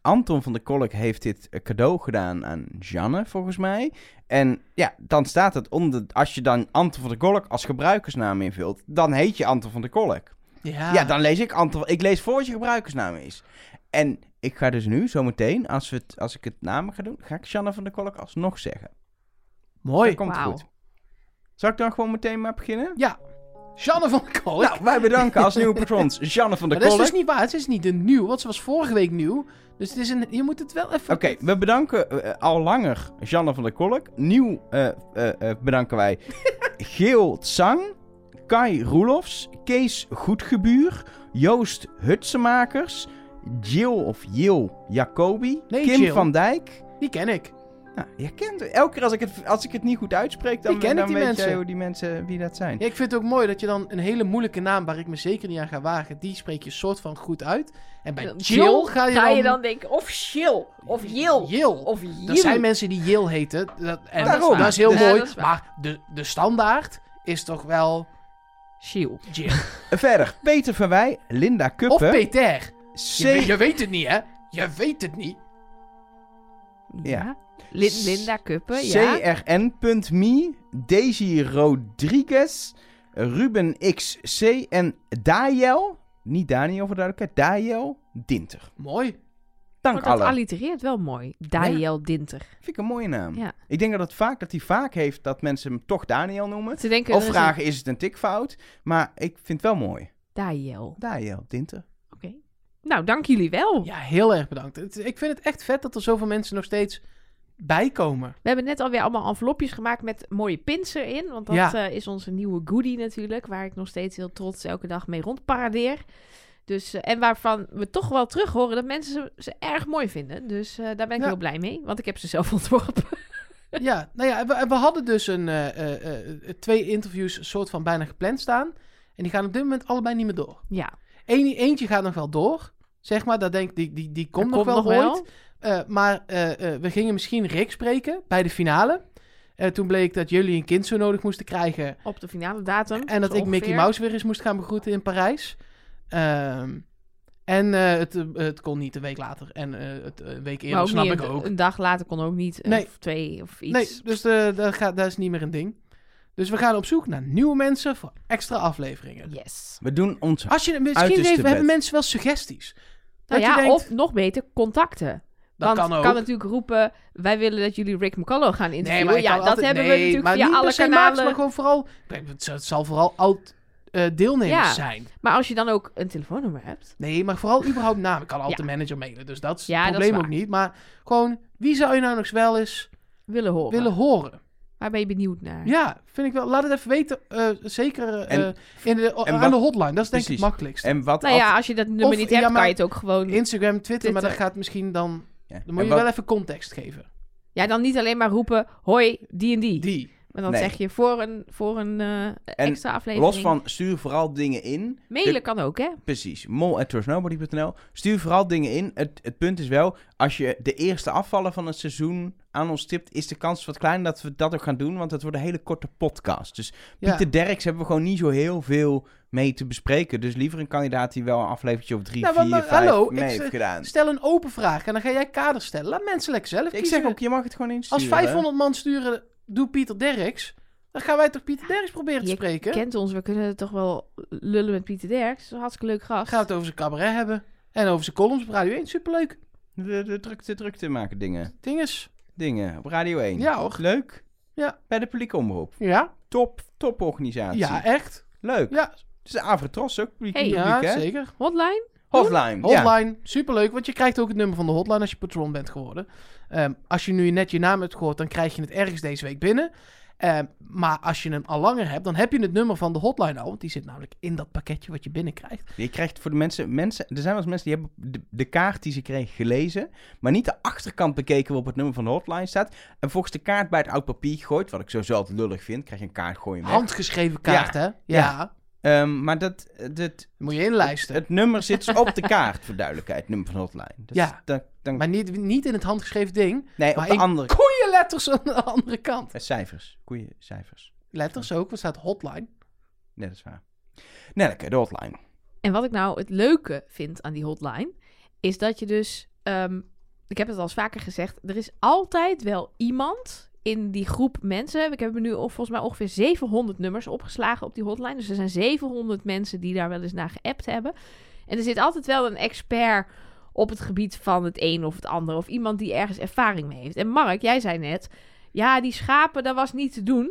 Anton van der Kolk heeft dit eh, cadeau gedaan aan Janne, volgens mij. En ja, dan staat het onder... Als je dan Anton van der Kolk als gebruikersnaam invult... dan heet je Anton van der Kolk.
Ja.
Ja, dan lees ik Anton. Ik lees voor wat je gebruikersnaam is. En ik ga dus nu, zometeen, als, we het, als ik het namen ga doen, ga ik Shanna van der Kolk alsnog zeggen.
Mooi.
Dan komt het
Wauw.
goed. Zal ik dan gewoon meteen maar beginnen?
Ja. Janne van der Kolk.
Nou, wij bedanken als nieuwe patrons Shanna van der
Maar dat
Kolk.
is dus niet waar. Het is niet de nieuw, want ze was vorige week nieuw. Dus het is een, je moet het wel even...
Oké, we bedanken eh, al langer Janne van der Kolk. Nieuw eh, eh, eh, bedanken wij Geel Tsang, Kai Roelofs, Kees Goedgebuur, Joost Hutsenmakers, Jill of Jill Jacobi,
Nee,
Kim
Jill.
van Dijk,
Die ken ik.
Nou, je kent elke keer als ik het, als ik het niet goed uitspreek, dan,
Ik ken
dan
het, die
weet
mensen.
jij hoe die mensen wie dat zijn.
Ja, ik vind het ook mooi dat je dan een hele moeilijke naam, waar ik me zeker niet aan ga wagen, die spreek je soort van goed uit. En bij
Dan-
Jill ga je dan...
denken, of Jill, of Jill,
Jill.
of
Er zijn mensen die Jill heten. Dat, en
Daarom.
dat is, heel
Ja,
mooi.
dat is waar.
maar de, de standaard is toch wel
Jill.
Jill.
Eh, Verder, Peter van Wij, Linda
Of
Kuppen,
Peter.
C.
Je, weet- je weet het niet, hè? Je weet het niet.
Ja.
Ja. Lin- Linda Kuppen, ja.
CRN.me, Daisy Rodriguez, Ruben XC en Daniel, niet Daniel voor de duidelijkheid, Daniel Dinter.
Mooi.
Dank
Want dat
Allah.
allitereert wel mooi. Daniel Dinter.
Vind ik een mooie naam.
Ja.
Ik denk dat, het vaak, dat hij vaak heeft dat mensen hem toch Daniel noemen.
Ze denken...
Of
er is
vragen, is het een tikfout? Maar ik vind het wel mooi.
een Daniel. Oké.
Daniel Dinter.
Nou, dank jullie wel.
Ja, heel erg bedankt. Het- ik vind het echt vet dat er zoveel mensen nog steeds bijkomen.
We hebben net alweer allemaal envelopjes gemaakt met mooie pins erin. Want dat
Ja.
eh, is onze nieuwe goodie natuurlijk. Waar ik nog steeds heel trots elke dag mee rondparadeer. Dus, eh, en waarvan we toch wel terug horen dat mensen ze, ze erg mooi vinden. Dus eh, daar ben ik
Ja.
heel blij mee. Want ik heb ze zelf ontworpen.
Ja, nou ja, we, we hadden dus een, eh, eh, eh, twee interviews soort van bijna gepland staan. En die gaan op dit moment allebei niet meer door.
Ja,
Eén, eentje gaat nog wel door, zeg maar. Dat denk, die, die, die komt nog
dat
wel ooit. Eh, maar eh, eh, we gingen misschien Rick spreken bij de finale. Eh, toen bleek dat jullie een kind zo nodig moesten krijgen.
Op de finale datum.
En dat
zo
ik Mickey
ongeveer.
Mouse weer eens moest gaan begroeten in Parijs. Ehm, en eh, het, eh, het kon niet een week later. En eh, het eh, een week eerder,
Maar ook
snap
niet
ik
een,
ook.
Een dag later kon ook niet. eh,
Nee.
Of twee of iets.
Nee, dus eh, dat, gaat, dat is niet meer een ding. Dus we gaan op zoek naar nieuwe mensen voor extra afleveringen. Dus
Yes.
We doen ons
Als je, misschien
Uiterste
heeft, hebben
bed.
mensen wel suggesties.
Nou
dat
ja,
je denkt,
of nog beter, contacten.
dat
Want
kan
ik
ook.
kan natuurlijk roepen, wij willen dat jullie Rick McCullough gaan interviewen.
maar je
ja,
kan
dat
altijd-
hebben
nee,
we natuurlijk
maar
via
niet per
alle
se
kanalen.
Max, maar gewoon vooral... Het zal- het zal vooral oud eh, deelnemers
Ja.
zijn.
Maar als je dan ook een telefoonnummer hebt.
Nee, maar vooral überhaupt naam. Ik kan altijd
Ja.
de manager mailen, dus dat is
Ja,
het
dat
probleem
is
ook
waar.
niet. Maar gewoon, wie zou je nou nog eens wel eens
Willen horen.
willen horen?
Waar ben je benieuwd naar?
Ja, vind ik wel. Laat het even weten. eh, zeker eh,
En-
in de, aan
wat-
de hotline. Dat is denk
Precies.
ik het makkelijkst.
En wat
Nou
af-
ja, als je dat nummer
Of-
niet
ja,
hebt,
maar-
kan je het ook gewoon...
Instagram, Twitter, maar dat
Hm. Twitter.
gaat misschien dan...
ja.
Dan moet
En
je
wat-
wel even context geven.
Ja, dan niet alleen maar roepen, hoi, die en die.
Die.
Maar dan
Nee.
zeg je voor een, voor een eh, extra aflevering.
Los van stuur vooral dingen in.
Mailen
De-
kan ook, hè?
Precies. Mol at trustnobody.nl. Stuur vooral dingen in. Het, het punt is wel, als je de eerste afvallen van het seizoen aan ons tipt, is de kans wat klein dat we dat ook gaan doen, want het wordt een hele korte podcast. Dus
Ja.
Pieter Derks hebben we gewoon niet zo heel veel mee te bespreken. Dus liever een kandidaat die wel een aflevertje of drie,
Nou, want,
vier,
maar,
vijf
hallo,
mee
ik
heeft
zeg-
gedaan.
Stel een open vraag en dan ga jij kaders stellen. Laat mensen lekker zelf
Ik
kiezen.
zeg ook, je mag het gewoon
Als
insturen.
500 man sturen, doe Pieter Derks. Dan gaan wij toch Pieter Derks proberen te
Je
spreken?
Kent ons, we kunnen toch wel lullen met Pieter Derks. Hartstikke leuk gast.
Dan gaan we het over zijn cabaret hebben. En over zijn columns op Radio 1. Superleuk.
De, de drukte, drukte maken dingen.
Dinges.
Dingen. Op Radio 1.
Ja hoor.
Leuk.
Ja.
Bij de publieke omroep.
Ja,
Top, top organisatie.
ja echt.
Leuk.
Ja,
Dus de Avrotros ook publiek,
Hey.
publiek
ja
hè?
zeker.
Hotline?
Hotline. Ja.
Hotline, superleuk, want je krijgt ook het nummer van de hotline als je patron bent geworden. Ehm, als je nu net je naam hebt gehoord, dan krijg je het ergens deze week binnen. Ehm, maar als je hem al langer hebt, dan heb je het nummer van de hotline al. Want die zit namelijk in dat pakketje wat je binnenkrijgt.
Je krijgt voor de mensen, mensen... Er zijn wel eens mensen die hebben de, de kaart die ze kregen gelezen... maar niet de achterkant bekeken waarop het nummer van de hotline staat... en volgens de kaart bij het oud papier gegooid... wat ik sowieso altijd lullig vind, krijg je een kaart gooien weg.
Handgeschreven kaart, hè? Ja.
Ehm, maar dat, dat,
Moet je inlijsten.
het nummer zit dus op de kaart, voor duidelijkheid. Het nummer van de hotline. Dus
Ja.
Dan, dan,
Maar niet, niet in het handgeschreven ding.
nee, op
maar
de
ik-
andere...
Koeien letters aan de andere kant.
eh, Cijfers. Goeie cijfers.
Letters ook, wat staat hotline?
Nee, dat is waar. Nelleke, de hotline.
En wat ik nou het leuke vind aan die hotline, is dat je dus, ehm, ik heb het al eens vaker gezegd, er is altijd wel iemand in die groep mensen. Ik heb er nu al volgens mij ongeveer 700 nummers opgeslagen op die hotline. Dus er zijn 700 mensen die daar wel eens naar geappt hebben. En er zit altijd wel een expert op het gebied van het een of het ander. Of iemand die ergens ervaring mee heeft. En Mark, jij zei net, ja, die schapen, dat was niet te doen.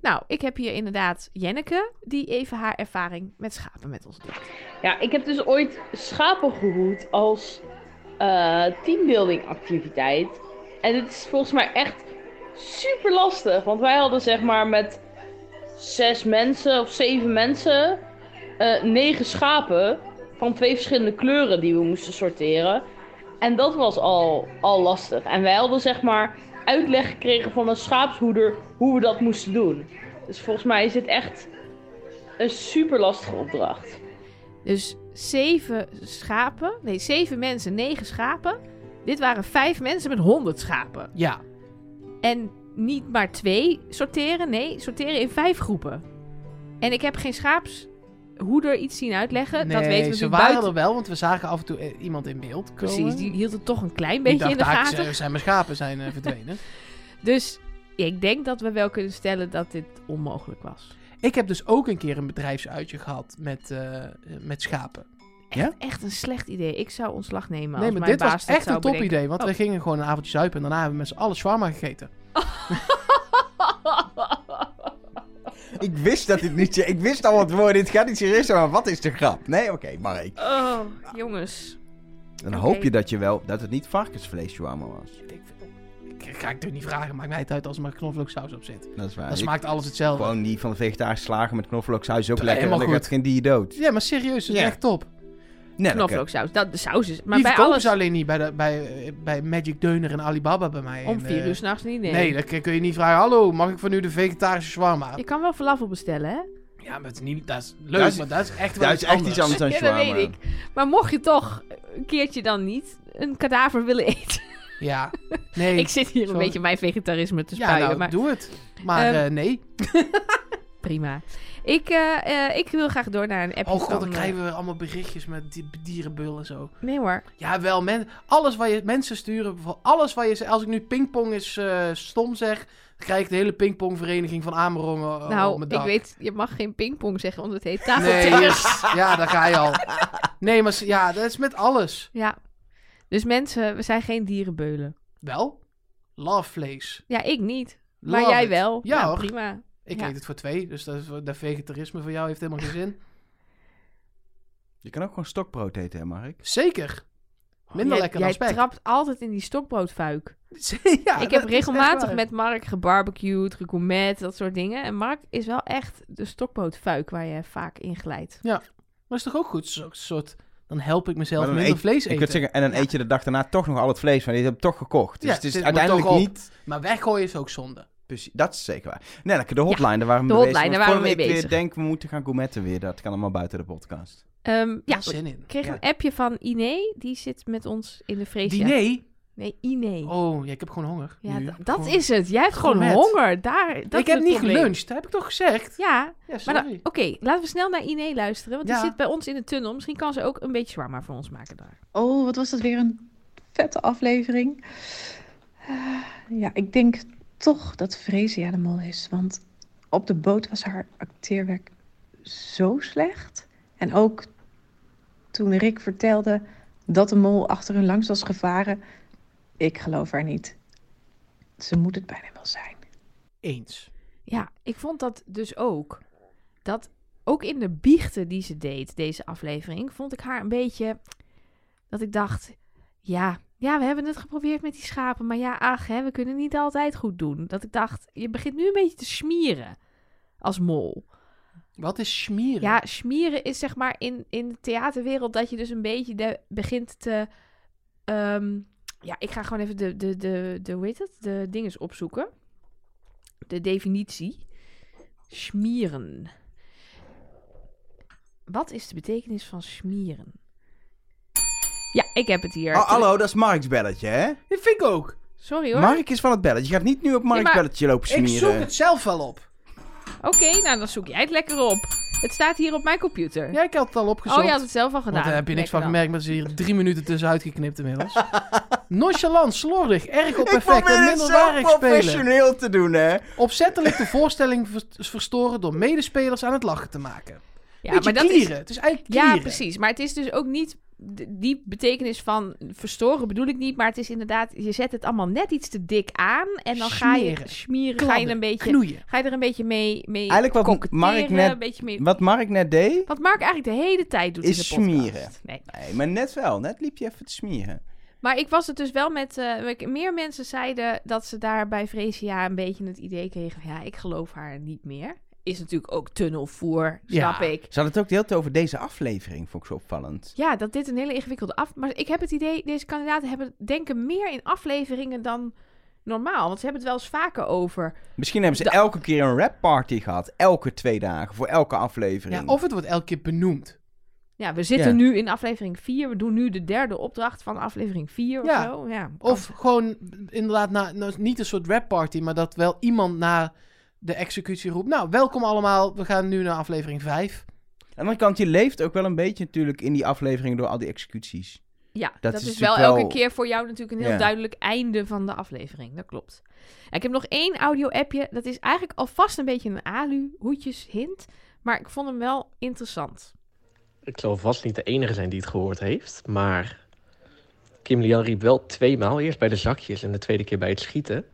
Nou, ik heb hier inderdaad Jenneke, die even haar ervaring met schapen met ons deelt.
Ja, ik heb dus ooit schapen gehoed als eh teambuilding activiteit. En het is volgens mij echt super lastig. Want wij hadden zeg maar met zes mensen of zeven mensen eh, negen schapen van twee verschillende kleuren die we moesten sorteren. En dat was al, al lastig. En wij hadden zeg maar uitleg gekregen van een schaapshoeder hoe we dat moesten doen. Dus volgens mij is dit echt een super lastige opdracht.
Dus zeven schapen. Nee, zeven mensen, negen schapen. Dit waren vijf mensen met honderd schapen.
Ja.
En niet maar twee sorteren. Nee, sorteren in vijf groepen. En ik heb geen schaapshoeder iets zien uitleggen. dat weten we
ze
natuurlijk
waren
buiten.
er wel, want we zagen af en toe eh, iemand in beeld komen.
Precies, die hield het toch een klein
Die
beetje
dacht,
in de
"Ah,
gaten.
ze- zijn mijn schapen zijn eh, verdwenen.
Dus ik denk dat we wel kunnen stellen dat dit onmogelijk was.
ik heb dus ook een keer een bedrijfsuitje gehad met, eh, eh, met schapen.
Echt,
Ja?
echt een slecht idee. Ik zou ontslag nemen.
nee,
als
maar
mijn
dit
baas
was
dat
echt
zou
een top
bedenken. Oh.
idee. Want we gingen gewoon een avondje zuipen en daarna hebben we met z'n allen shawarma gegeten.
Ik wist dat dit niet... Ik wist al wat woorden. Dit gaat niet serieus zijn, maar wat is de grap? Nee, oké, maar ik...
Oh, jongens.
Dan
Oké.
hoop je dat je wel... Dat het niet varkensvlees shawarma was.
Ik denk, "Oh, ik- ga ik natuurlijk niet vragen. Maakt mij het uit als er maar knoflooksaus op zit.
Dat is waar.
Dan
Ik-
smaakt alles hetzelfde.
Gewoon die van de vegetarische slagen met knoflooksaus is ook
Ja,
lekker.
helemaal
want Dan
goed.
gaat geen dier dood.
Ja, maar serieus, het is
Ja.
echt top.
Nee, dat kan-
Knoflooksaus. Dat, de saus is... Maar
die
bij
verkopen
alles...
ze alleen niet bij, de, bij, eh, bij Magic Deuner en Alibaba bij mij.
Om
in,
vier
eh,
uur s'nachts niet, nee.
Nee, dan kun je niet vragen, hallo, mag ik van u de vegetarische shawarma?
Je kan wel falafel bestellen, hè?
Ja, maar het is niet, dat is leuk,
Dat is-
maar dat is echt wel
Dat is echt iets anders dan
Ja, dat
shawarma.
weet Maar mocht je toch een keertje dan niet een kadaver willen eten...
Ja, nee.
Ik zit hier een
Sorry.
beetje mijn vegetarisme te
ja,
spuien,
nou,
maar
doe het. Maar
Ehm,
eh, nee.
prima. Ik, eh, eh, ik wil graag door naar een appje
Oh god,
van,
dan
eh,
krijgen we allemaal berichtjes met di- dierenbul en zo.
Nee hoor.
Ja, wel, men, alles wat je mensen sturen, voor alles wat je zegt. Als ik nu pingpong is eh, stom zeg, krijg ik de hele pingpongvereniging van Amerongen eh, op
nou,
mijn
ik
dak.
weet, je mag geen pingpong zeggen, want het heet tafeltennis.
Nee, ja, daar ga je al. Nee, maar s- ja, dat is met alles.
Ja. Dus mensen, we zijn geen dierenbeulen.
Wel, love vlees.
Ja, ik niet.
Love
maar jij
it.
wel.
Ja,
Nou,
hoor.
prima.
Ik
Ja.
eet het voor twee, dus dat, is- dat vegetarisme voor jou heeft helemaal geen zin.
Je kan ook gewoon stokbrood eten, hè, Mark?
Zeker. Minder
jij,
lekker
jij
dan spek.
trapt altijd in die stokbroodfuik.
Ja,
ik
dat
heb
is
regelmatig
echt waar.
met Mark gebarbecued, gegourmet, dat soort dingen. En Mark is wel echt de stokbroodfuik waar je vaak in glijdt.
Maar is toch ook goed? Zo, soort, dan help ik mezelf
Maar dan
minder
eet-
vlees
Ik
eten.
kan zeggen, en dan eet je de dag daarna toch nog al het vlees, want je hebt hem toch gekocht. Dus
Ja,
het is
zit me
uiteindelijk
toch op.
niet...
Maar weggooien is ook zonde.
Precies, dat is zeker waar. Nee, lekker de hotline, daar waren we
de
mee
hotline,
bezig.
daar waren
Want
we mee
voordat ik
bezig.
weer denk, we moeten gaan gourmetten weer. Dat kan allemaal buiten de podcast.
Ehm, ja,
Ja,
goed.
zin in.
Ik kreeg
Ja.
een appje van Iné. Die zit met ons in de vrees.
Diner?
Nee, Iné.
Oh, ja, ik heb gewoon honger.
ja,
nu.
d- dat
Gewoon-
is het. Jij hebt gewoon
Gourmet.
honger. Daar, dat is
ik heb
het
niet
probleem.
geluncht, dat heb ik toch gezegd?
Ja,
Ja,
maar dan-
sorry.
oké. laten we snel naar Iné luisteren. Want
Ja.
die zit bij ons in de tunnel. Misschien kan ze ook een beetje zwaar maar voor ons maken daar.
Oh, wat was dat weer een vette aflevering. Eh, ja, ik denk toch dat Fresia de mol is. Want op de boot was haar acteerwerk zo slecht. En ook toen Rick vertelde dat de mol achter hun langs was gevaren. Ik geloof haar niet. Ze moet het bijna wel zijn.
Eens.
Ja, ik vond dat dus ook. Dat ook in de biechten die ze deed, deze aflevering, vond ik haar een beetje. Dat ik dacht, ja, ja, we hebben het geprobeerd met die schapen. Maar ja, ach, hè, we kunnen niet altijd goed doen. Dat ik dacht, je begint nu een beetje te smieren als mol.
Wat is schmieren?
Ja, smieren is zeg maar in, in de theaterwereld dat je dus een beetje de, begint te. ehm, ja, ik ga gewoon even de, de, de, de, hoe heet het? De dinges opzoeken. De definitie. Smieren. Wat is de betekenis van smieren? Ja, ik heb het hier.
Ah,
Oh, hallo, dat is Mark's belletje, hè?
Dat vind ik ook.
Sorry hoor.
Mark is van het belletje. Je gaat niet nu op Mark's
maar
belletje lopen
Ik zoek
smeren.
het zelf wel op.
Oké, nou dan zoek jij het lekker op. Het staat hier op mijn computer.
Ja, ik had het al opgezocht.
oh, je had het zelf al gedaan.
Want daar heb je niks
Lekker
van
dan.
gemerkt, maar ze hier drie minuten tussenuit geknipt inmiddels. Nonchalant, slordig, erg op
Ik
effect en
probeer het zo
minderwaardig spelen.
professioneel te doen, hè?
Opzettelijk de voorstelling vers- verstoren door medespelers aan het lachen te maken.
Ja,
Beetje
maar dat is
klieren. Het is eigenlijk
Ja,
klieren.
precies. Maar het is dus ook niet d- die betekenis van verstoren bedoel ik niet, maar het is inderdaad je zet het allemaal net iets te dik aan en dan ga je
Smeren.
smieren, ga je
Kladden,
een beetje
knoeien.
ga je er een beetje mee mee
Eigenlijk wat
koketteren,
Mark net-
een beetje mee
Wat Mark net deed...
wat Mark eigenlijk de hele tijd doet
Is
in de podcast.
smieren.
Nee.
Nee, maar net wel. Net liep je even te smieren.
Maar ik was het dus wel met eh, ik- meer mensen zeiden dat ze daar bij Fresia een beetje het idee kregen van ja, ik geloof haar niet meer. Is natuurlijk ook tunnelvoer,
Ja.
snap ik.
Ze hadden het ook de hele tijd over deze aflevering, vond ik zo opvallend.
Ja, dat dit een hele ingewikkelde af... Maar ik heb het idee, deze kandidaten hebben, denken meer in afleveringen dan normaal. Want ze hebben het wel eens vaker over.
Misschien hebben ze
Da-
elke keer een rap party gehad. Elke twee dagen, voor elke aflevering.
Ja, of het wordt elke keer benoemd.
Ja, we zitten
Ja.
nu in aflevering 4. We doen nu de derde opdracht van aflevering 4
Ja.
of zo. Ja, kan-
Of gewoon inderdaad, na, nou, niet een soort rap party, maar dat wel iemand na de executie roept. Nou, welkom allemaal, we gaan nu naar aflevering 5.
Aan de andere kant, je leeft ook wel een beetje natuurlijk in die afleveringen door al die executies.
ja dat,
dat
is,
is
wel
natuurlijk
elke
wel-
keer voor jou natuurlijk een heel
Ja.
duidelijk einde van de aflevering. Dat klopt. En ik heb nog één audio-appje. Dat is eigenlijk alvast een beetje een alu-hoedjes-hint. Maar ik vond hem wel interessant.
Ik zal vast niet de enige zijn die het gehoord heeft, maar Kim Lian riep wel twee maal. Eerst bij de zakjes en de tweede keer bij het schieten.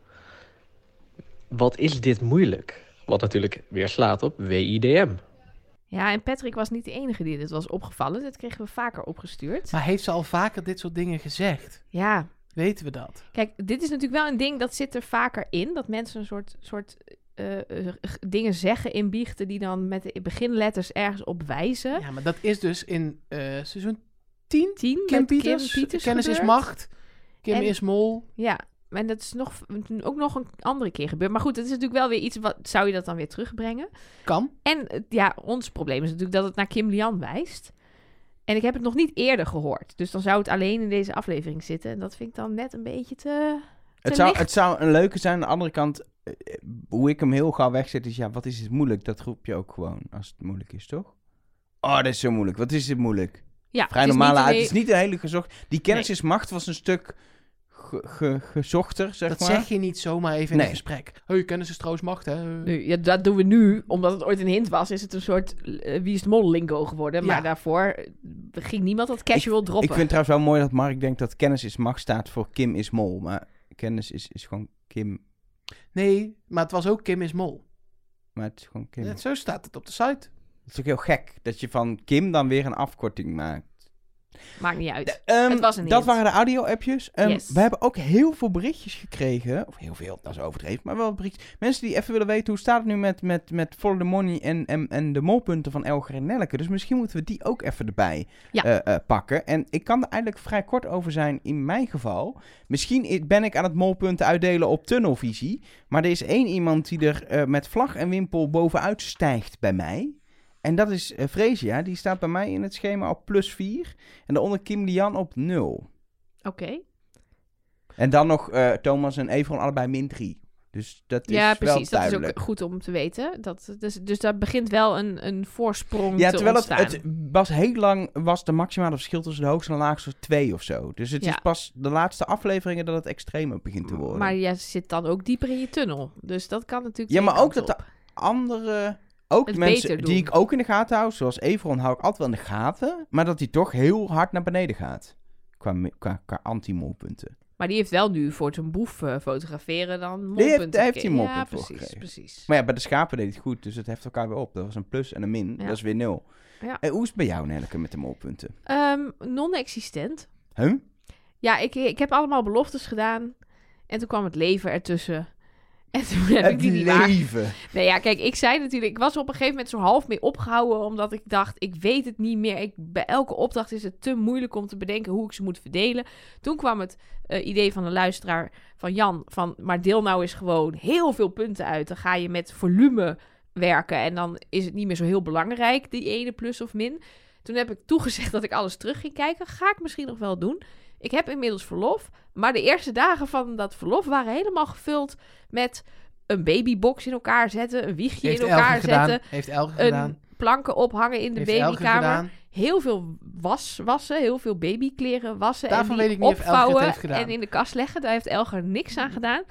Wat is dit moeilijk? Wat natuurlijk weer slaat op WIDM.
Ja, en Patrick was niet de enige die dit was opgevallen. Dat kregen we vaker opgestuurd.
Maar heeft ze al vaker dit soort dingen gezegd?
Ja,
Weten we dat?
Kijk, dit is natuurlijk wel een ding dat zit er vaker in. Dat mensen een soort, soort eh, eh, g- dingen zeggen in biechten die dan met de beginletters ergens op wijzen.
Ja, maar dat is dus in eh, seizoen 10.
Tien
Kim
met
Pieters,
Kim Pieters
Kennis is
gebeurd.
macht. Kim
En-
is mol.
Ja, en dat is nog, ook nog een andere keer gebeurd. Maar goed, het is natuurlijk wel weer iets, wat zou je dat dan weer terugbrengen?
Kan.
En eh, ja, ons probleem is natuurlijk dat het naar Kim Lian wijst. En ik heb het nog niet eerder gehoord. Dus dan zou het alleen in deze aflevering zitten. En dat vind ik dan net een beetje te...
Het
te
zou,
licht.
het zou een leuke zijn. Aan de andere kant, eh, eh, hoe ik hem heel gauw wegzet, is ja, wat is het moeilijk? Dat roep je ook gewoon als het moeilijk is, toch? Oh, dat is zo moeilijk. Wat is het moeilijk?
Ja,
Vrij
het is
normale
niet
uit.
een-
Het is niet een hele gezocht. Die kennis
Nee.
is macht was een stuk ge- ge- gezochter, zeg
dat
maar.
zeg je niet zomaar even in
Nee.
een gesprek. Hé, hey, kennis is trouwens macht, hè?
Nu, ja, dat doen we nu, omdat het ooit een hint was, is het een soort eh, wie is de mol lingo geworden. Maar
Ja.
daarvoor eh, ging niemand dat casual droppen.
Ik vind trouwens wel mooi dat Mark denkt dat kennis is macht staat voor Kim is mol. Maar kennis is, is gewoon Kim.
Nee, maar het was ook Kim is mol.
Maar het is gewoon Kim.
Net zo staat het op de site.
Het is ook heel gek dat je van Kim dan weer een afkorting maakt.
Maakt niet uit.
De- ehm,
Het was een
dat
hint.
waren de audio-appjes. Ehm,
Yes.
We hebben ook heel veel berichtjes gekregen. Of heel veel, dat is overdreven. Maar wel berichtjes. Mensen die even willen weten hoe staat het nu met, met, met Follow the Money en, en, en de molpunten van Elger en Nelke. Dus misschien moeten we die ook even erbij
Ja.
eh, eh, pakken. En ik kan er eigenlijk vrij kort over zijn in mijn geval. Misschien i- ben ik aan het molpunten uitdelen op tunnelvisie. Maar er is één iemand die er eh, met vlag en wimpel bovenuit stijgt bij mij. En dat is eh, Fresia. Die staat bij mij in het schema op plus 4. En daaronder Kim Lian op 0.
Oké.
En dan nog eh, Thomas en Evron allebei min 3. Dus dat
Ja,
is wel
precies. Dat is
duidelijk.
ook goed om te weten. Dat, dus, dus daar begint wel een, een voorsprong
ja,
te
terwijl het,
ontstaan.
het was heel lang was de maximale verschil tussen de hoogste en de laagste twee of zo. Dus het
Ja.
is pas de laatste afleveringen dat het extremer begint te worden.
Maar jij zit dan ook dieper in je tunnel. Dus dat kan natuurlijk
ja,
twee
maar ook
kanten
dat de
op.
andere ook
Het
mensen
beter
die
doen.
ik ook in de gaten hou, zoals Evron hou ik altijd wel in de gaten, maar dat die toch heel hard naar beneden gaat qua me- qua, qua anti-molpunten.
Maar die heeft wel nu voor zijn boef eh, fotograferen dan molpunten
heeft- daar heeft
gekregen.
hij
Ja,
molpunt voor
precies,
gekregen.
precies.
Maar ja, bij de schapen deed het goed, dus het heft elkaar weer op. Dat was een plus en een min,
Ja.
dat is weer nul.
Ja.
En hoe is het bij jou, Nelke, met de molpunten?
Ehm, Non-existent.
Huh?
Ja, ik, ik heb allemaal beloftes gedaan. En toen kwam het leven ertussen. En toen heb ik die niet waar.
leven.
Nee, ja, kijk, ik zei natuurlijk... Ik was op een gegeven moment zo half mee opgehouden... omdat ik dacht, ik weet het niet meer. Ik, bij elke opdracht is het te moeilijk om te bedenken... hoe ik ze moet verdelen. Toen kwam het eh, idee van een luisteraar van Jan... van, maar deel nou eens gewoon heel veel punten uit. Dan ga je met volume werken... en dan is het niet meer zo heel belangrijk... die ene plus of min. Toen heb ik toegezegd dat ik alles terug ging kijken. Ga ik misschien nog wel doen. Ik heb inmiddels verlof. Maar de eerste dagen van dat verlof waren helemaal gevuld met een babybox in elkaar zetten, een wiegje
Heeft
in
Elge
elkaar
gedaan.
zetten,
Heeft Elge
een
gedaan.
planken ophangen in de
Heeft Elge
babykamer.
gedaan.
Heel veel was wassen, heel veel babykleren wassen
Daarvan
en die
weet ik niet of Elger het
opvouwen
heeft gedaan.
en in de kast leggen. Daar heeft Elger niks aan gedaan.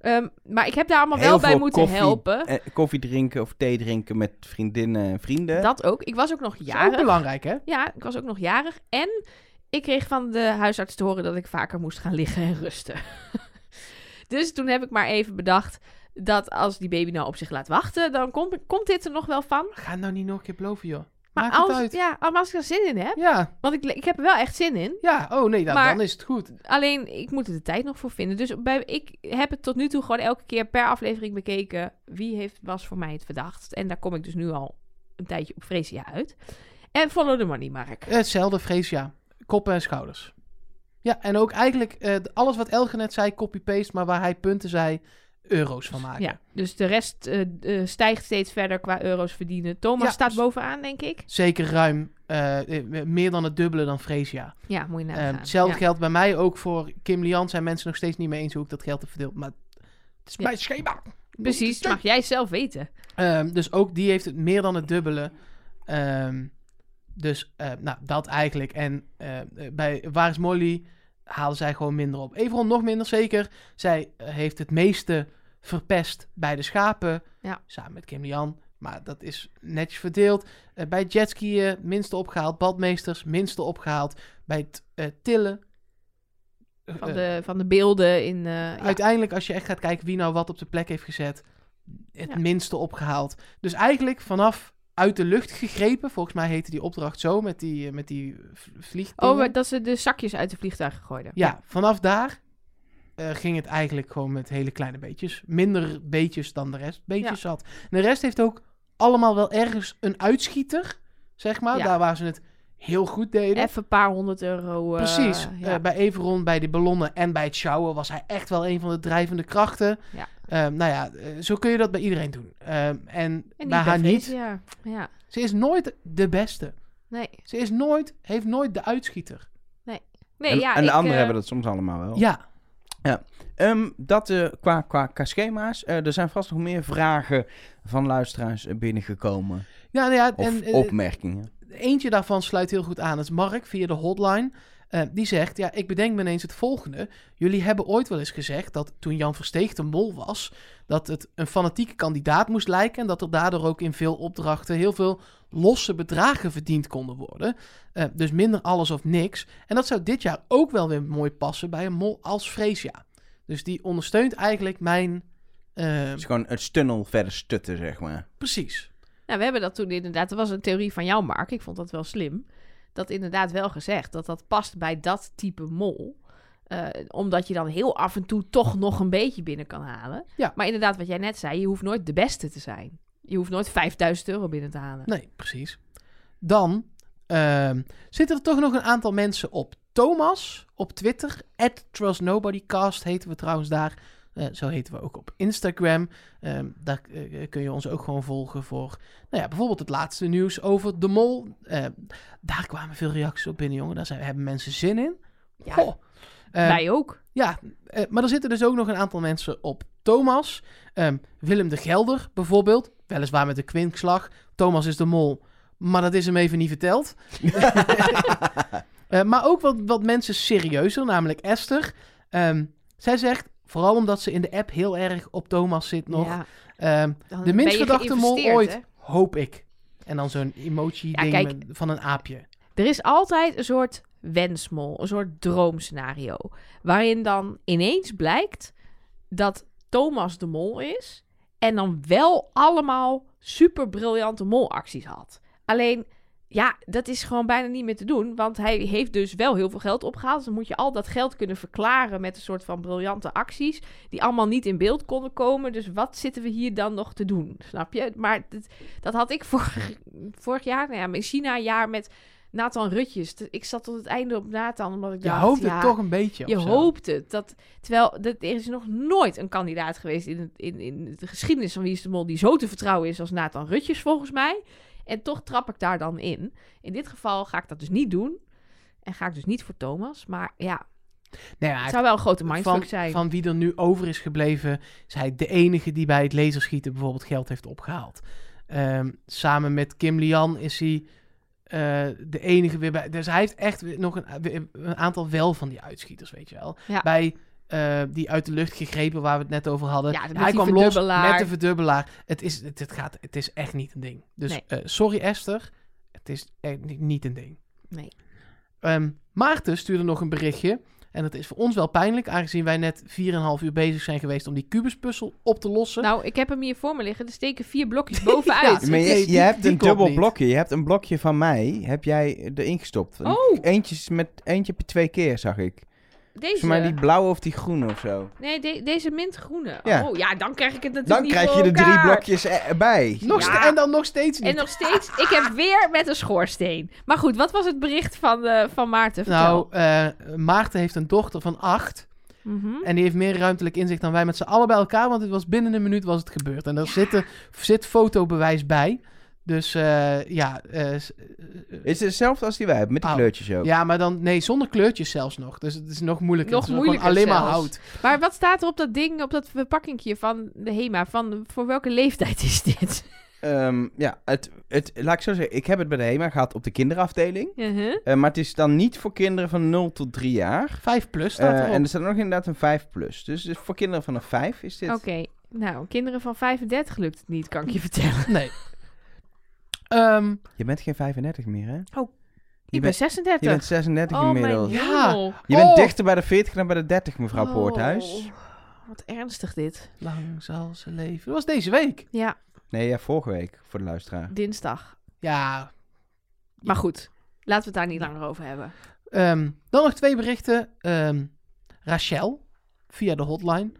Ehm, maar ik heb daar allemaal
Heel
wel bij
veel
moeten
koffie.
helpen.
Eh, koffie drinken of thee drinken met vriendinnen en vrienden.
Dat ook. Ik was ook nog
Ja, ook
jarig.
belangrijk, hè?
Ja, ik was ook nog jarig. En ik kreeg van de huisarts te horen dat ik vaker moest gaan liggen en rusten. dus toen heb ik maar even bedacht dat als die baby nou op zich laat wachten, dan komt, komt dit er nog wel van.
Ga het nou niet nog een keer beloven, joh.
Maar
Maakt het
als,
uit.
Ja, maar als ik er zin in heb,
Ja,
want ik, ik heb er wel echt zin in,
ja. Oh nee, dan,
Maar-
dan is het goed.
alleen ik moet er de tijd nog voor vinden. Dus bij, ik heb het tot nu toe gewoon elke keer per aflevering bekeken. Wie heeft, was voor mij het verdacht? En daar kom ik dus nu al een tijdje op Freesia uit. En follow the money, Mark.
Hetzelfde vrees, ja. Koppen en schouders. Ja, en ook eigenlijk eh, alles wat Elge net zei, copy-paste, maar waar hij punten zei, euro's van maken.
Ja, dus de rest eh, d- eh, stijgt steeds verder qua euro's verdienen. Thomas
Ja. dus-
staat bovenaan, denk ik.
Zeker ruim, eh, eh, meer dan het dubbele dan Freesia.
Ja, moet je
Ehm,
nagaan.
hetzelfde
Ja.
geldt bij mij ook voor Kim Lian. Zijn mensen nog steeds niet mee eens hoe ik dat geld heb verdeeld. Maar het is
Ja.
mijn schema.
Precies, mag jij zelf weten.
Ehm, dus ook die heeft het meer dan het dubbele. Ehm, dus eh, nou, dat eigenlijk. En eh, bij Waar is Molly halen zij gewoon minder op. Everon nog minder zeker. Zij eh, heeft het meeste verpest bij de schapen.
Ja.
Samen met Kim Lian. Maar dat is netjes verdeeld. Eh, bij het jetskiën minste opgehaald. Badmeesters minste opgehaald. Bij het eh, tillen. eh,
Van de, van de beelden in... eh, ja.
Uiteindelijk, als je echt gaat kijken wie nou wat op de plek heeft gezet, het
Ja.
minste opgehaald. Dus eigenlijk vanaf uit de lucht gegrepen, volgens mij heette die opdracht zo, met die, eh, met die v- vliegdingen.
Oh, maar dat ze de zakjes uit de vliegtuigen gooiden.
Ja, vanaf daar eh, ging het eigenlijk gewoon met hele kleine beetjes. Minder beetjes dan de rest. Beetjes zat. En de rest heeft ook allemaal wel ergens een uitschieter, zeg maar.
Ja.
Daar waar ze het heel goed deden.
Even een paar honderd euro. eh,
Precies.
ja.
Eh, bij Everon, bij de ballonnen en bij het sjouwen was hij echt wel een van de drijvende krachten.
Ja.
Ehm, nou ja, eh, zo kun je dat bij iedereen doen. Ehm, en
en die
bij haar
bij
niet.
Freesia. Ja,
Ze is nooit de beste.
nee.
Ze is nooit, heeft nooit de uitschieter.
nee
en,
ja,
en de
ik,
anderen
eh,
hebben dat soms allemaal wel.
Ja,
Ehm, dat eh, qua, qua, qua schema's. Eh, er zijn vast nog meer vragen van luisteraars eh, binnengekomen.
ja, nou ja
Of
en, eh,
opmerkingen.
eentje daarvan sluit heel goed aan. Dat is Mark via de hotline. Eh, die zegt, ja, ik bedenk me ineens het volgende. Jullie hebben ooit wel eens gezegd dat toen Jan Versteeg de mol was... dat het een fanatieke kandidaat moest lijken... en dat er daardoor ook in veel opdrachten heel veel losse bedragen verdiend konden worden. Eh, dus minder alles of niks. En dat zou dit jaar ook wel weer mooi passen bij een mol als Freesia. Dus die ondersteunt eigenlijk mijn... eh,
Het is gewoon het stunnel verder stutten, zeg maar.
precies.
Nou, we hebben dat toen inderdaad. Dat was een theorie van jou, Mark. Ik vond dat wel slim. Dat inderdaad wel gezegd dat dat past bij dat type mol. Eh, omdat je dan heel af en toe toch nog een beetje binnen kan halen.
Ja.
Maar inderdaad, wat jij net zei, je hoeft nooit de beste te zijn. Je hoeft nooit 5000 euro binnen te halen.
Nee, precies. Dan ehm, zitten er toch nog een aantal mensen op. Thomas op Twitter, at TrustNobodyCast heten we trouwens daar. Eh, zo heten we ook op Instagram. Ehm, daar eh, kun je ons ook gewoon volgen voor nou ja, bijvoorbeeld het laatste nieuws over de mol. Ehm, daar kwamen veel reacties op binnen, jongen. Daar zijn, hebben mensen zin in.
Ja,
Goh. Ehm,
wij ook.
ja, eh, maar er zitten dus ook nog een aantal mensen op Thomas. Ehm, Willem de Gelder bijvoorbeeld. Weliswaar met de kwinkslag. Thomas is de mol. Maar dat is hem even niet verteld. Eh, maar ook wat, wat mensen serieuzer, namelijk Esther. Ehm, zij zegt, vooral omdat ze in de app heel erg op Thomas zit nog.
Ja,
ehm,
dan
de
ben
minst
je
verdachte mol
geïnvesteerd,
ooit,
hè?
hoop ik. En dan zo'n emoji-ding
kijk.
met- van een aapje.
Er is altijd een soort wensmol, een soort droomscenario. Waarin dan ineens blijkt dat Thomas de mol is. En dan wel allemaal super briljante molacties had. Alleen, ja, dat is gewoon bijna niet meer te doen. Want hij heeft dus wel heel veel geld opgehaald. Dus dan moet je al dat geld kunnen verklaren met een soort van briljante acties. Die allemaal niet in beeld konden komen. Dus wat zitten we hier dan nog te doen? Snap je? Maar dat, dat had ik vorig, vorig jaar, nou ja, in China een jaar met Nathan Rutjes. Ik zat tot het einde op Nathan, omdat ik
Je
dacht...
hoopt
ja,
het toch een beetje.
je
of zo.
hoopt het. Dat, terwijl dat, er is nog nooit een kandidaat geweest in, het- in, in de geschiedenis van Wie is de Mol... die zo te vertrouwen is als Nathan Rutjes, volgens mij. En toch trap ik daar dan in. In dit geval ga ik dat dus niet doen. En ga ik dus niet voor Thomas. Maar ja,
Nee, maar
het
hij
zou wel een grote mindfuck
van,
zijn.
van wie er nu over is gebleven, is hij de enige die bij het laserschieten bijvoorbeeld geld heeft opgehaald. Ehm, samen met Kim Lian is hij eh, de enige weer bij. Dus hij heeft echt weer nog een, weer een aantal wel van die uitschieters, weet je wel.
Ja.
Bij eh, die uit de lucht gegrepen waar we het net over hadden.
Ja, met
hij
die
kwam los
verdubbelaar.
met de verdubbelaar. Het is, het, het gaat, het is echt niet een ding. Dus
Nee.
eh, sorry Esther, het is echt ni- niet een ding.
Nee.
Ehm, Maarten stuurde nog een berichtje. En dat is voor ons wel pijnlijk, aangezien wij net 4,5 uur bezig zijn geweest om die kubuspuzzel op te lossen.
Nou, ik heb hem hier voor me liggen. Er steken vier blokjes bovenuit.
Maar je,
Nee,
je
die-
hebt
die
een
komt
dubbel
niet.
blokje. Je hebt een blokje van mij, heb jij erin gestopt. Een-
Oh,
Eentje, is met, eentje heb je twee keer, zag ik. Volgens mij die
deze.
blauwe of die groene of zo.
Nee, de- deze mintgroene.
Ja.
Oh ja, dan krijg ik het natuurlijk
Dan
niet
krijg
voor
je de drie
elkaar.
blokjes e- erbij.
nog
Ja.
ste- En dan nog steeds niet.
En nog steeds, ik heb weer met een schoorsteen. Maar goed, wat was het bericht van, eh, van Maarten?
nou,
Vertel.
eh, Maarten heeft een dochter van 8.
Mhm.
En die heeft meer ruimtelijk inzicht dan wij met z'n allen bij elkaar. Want het was binnen een minuut was het gebeurd. En daar zitten, zit fotobewijs bij. Dus eh, ja, eh, s-
Is het hetzelfde als die wij hebben, met die
Oh.
kleurtjes ook.
ja, maar dan nee, zonder kleurtjes zelfs nog. Dus het is nog moeilijker.
Nog
Het is gewoon
moeilijker
Alleen maar
zelfs.
hout.
Maar wat staat er op dat ding, op dat verpakkingje van de HEMA? Van voor welke leeftijd is dit?
Ehm, ja, het, het, laat ik zo zeggen, ik heb het bij de HEMA gehad op de kinderafdeling.
Mhm.
Eh, maar het is dan niet voor kinderen van 0 tot 3 jaar.
5 plus staat
Eh,
erop.
en er staat nog inderdaad een 5 plus. Dus, dus voor kinderen vanaf 5 is dit.
Oké, nou, kinderen van 35 lukt het niet, kan ik je vertellen.
Nee. Ehm,
Je bent geen 35 meer, hè?
Ik ben
bent-
36.
Je bent 36
oh
inmiddels.
mijn
Ja.
hemel.
Je bent
Oh.
dichter bij de 40 dan bij de 30, mevrouw Poorthuis.
Oh, Wat ernstig dit.
lang zal ze leven. Dat was deze week.
Ja,
Nee, ja, vorige week voor de luisteraar.
dinsdag.
Ja.
Maar goed, laten we het daar niet langer over hebben.
ehm, dan nog twee berichten. Ehm, Rachel, via de hotline.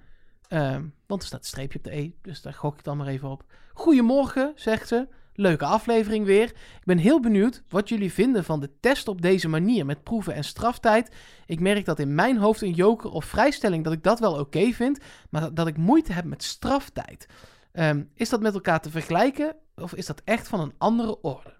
Ehm, want er staat een streepje op de E, dus daar gok ik dan maar even op. Goedemorgen, zegt ze. Leuke aflevering weer. Ik ben heel benieuwd wat jullie vinden van de test op deze manier met proeven en straftijd. Ik merk dat in mijn hoofd een joker of vrijstelling dat ik dat wel oké vind, maar dat, dat ik moeite heb met straftijd. Ehm, is dat met elkaar te vergelijken of is dat echt van een andere orde?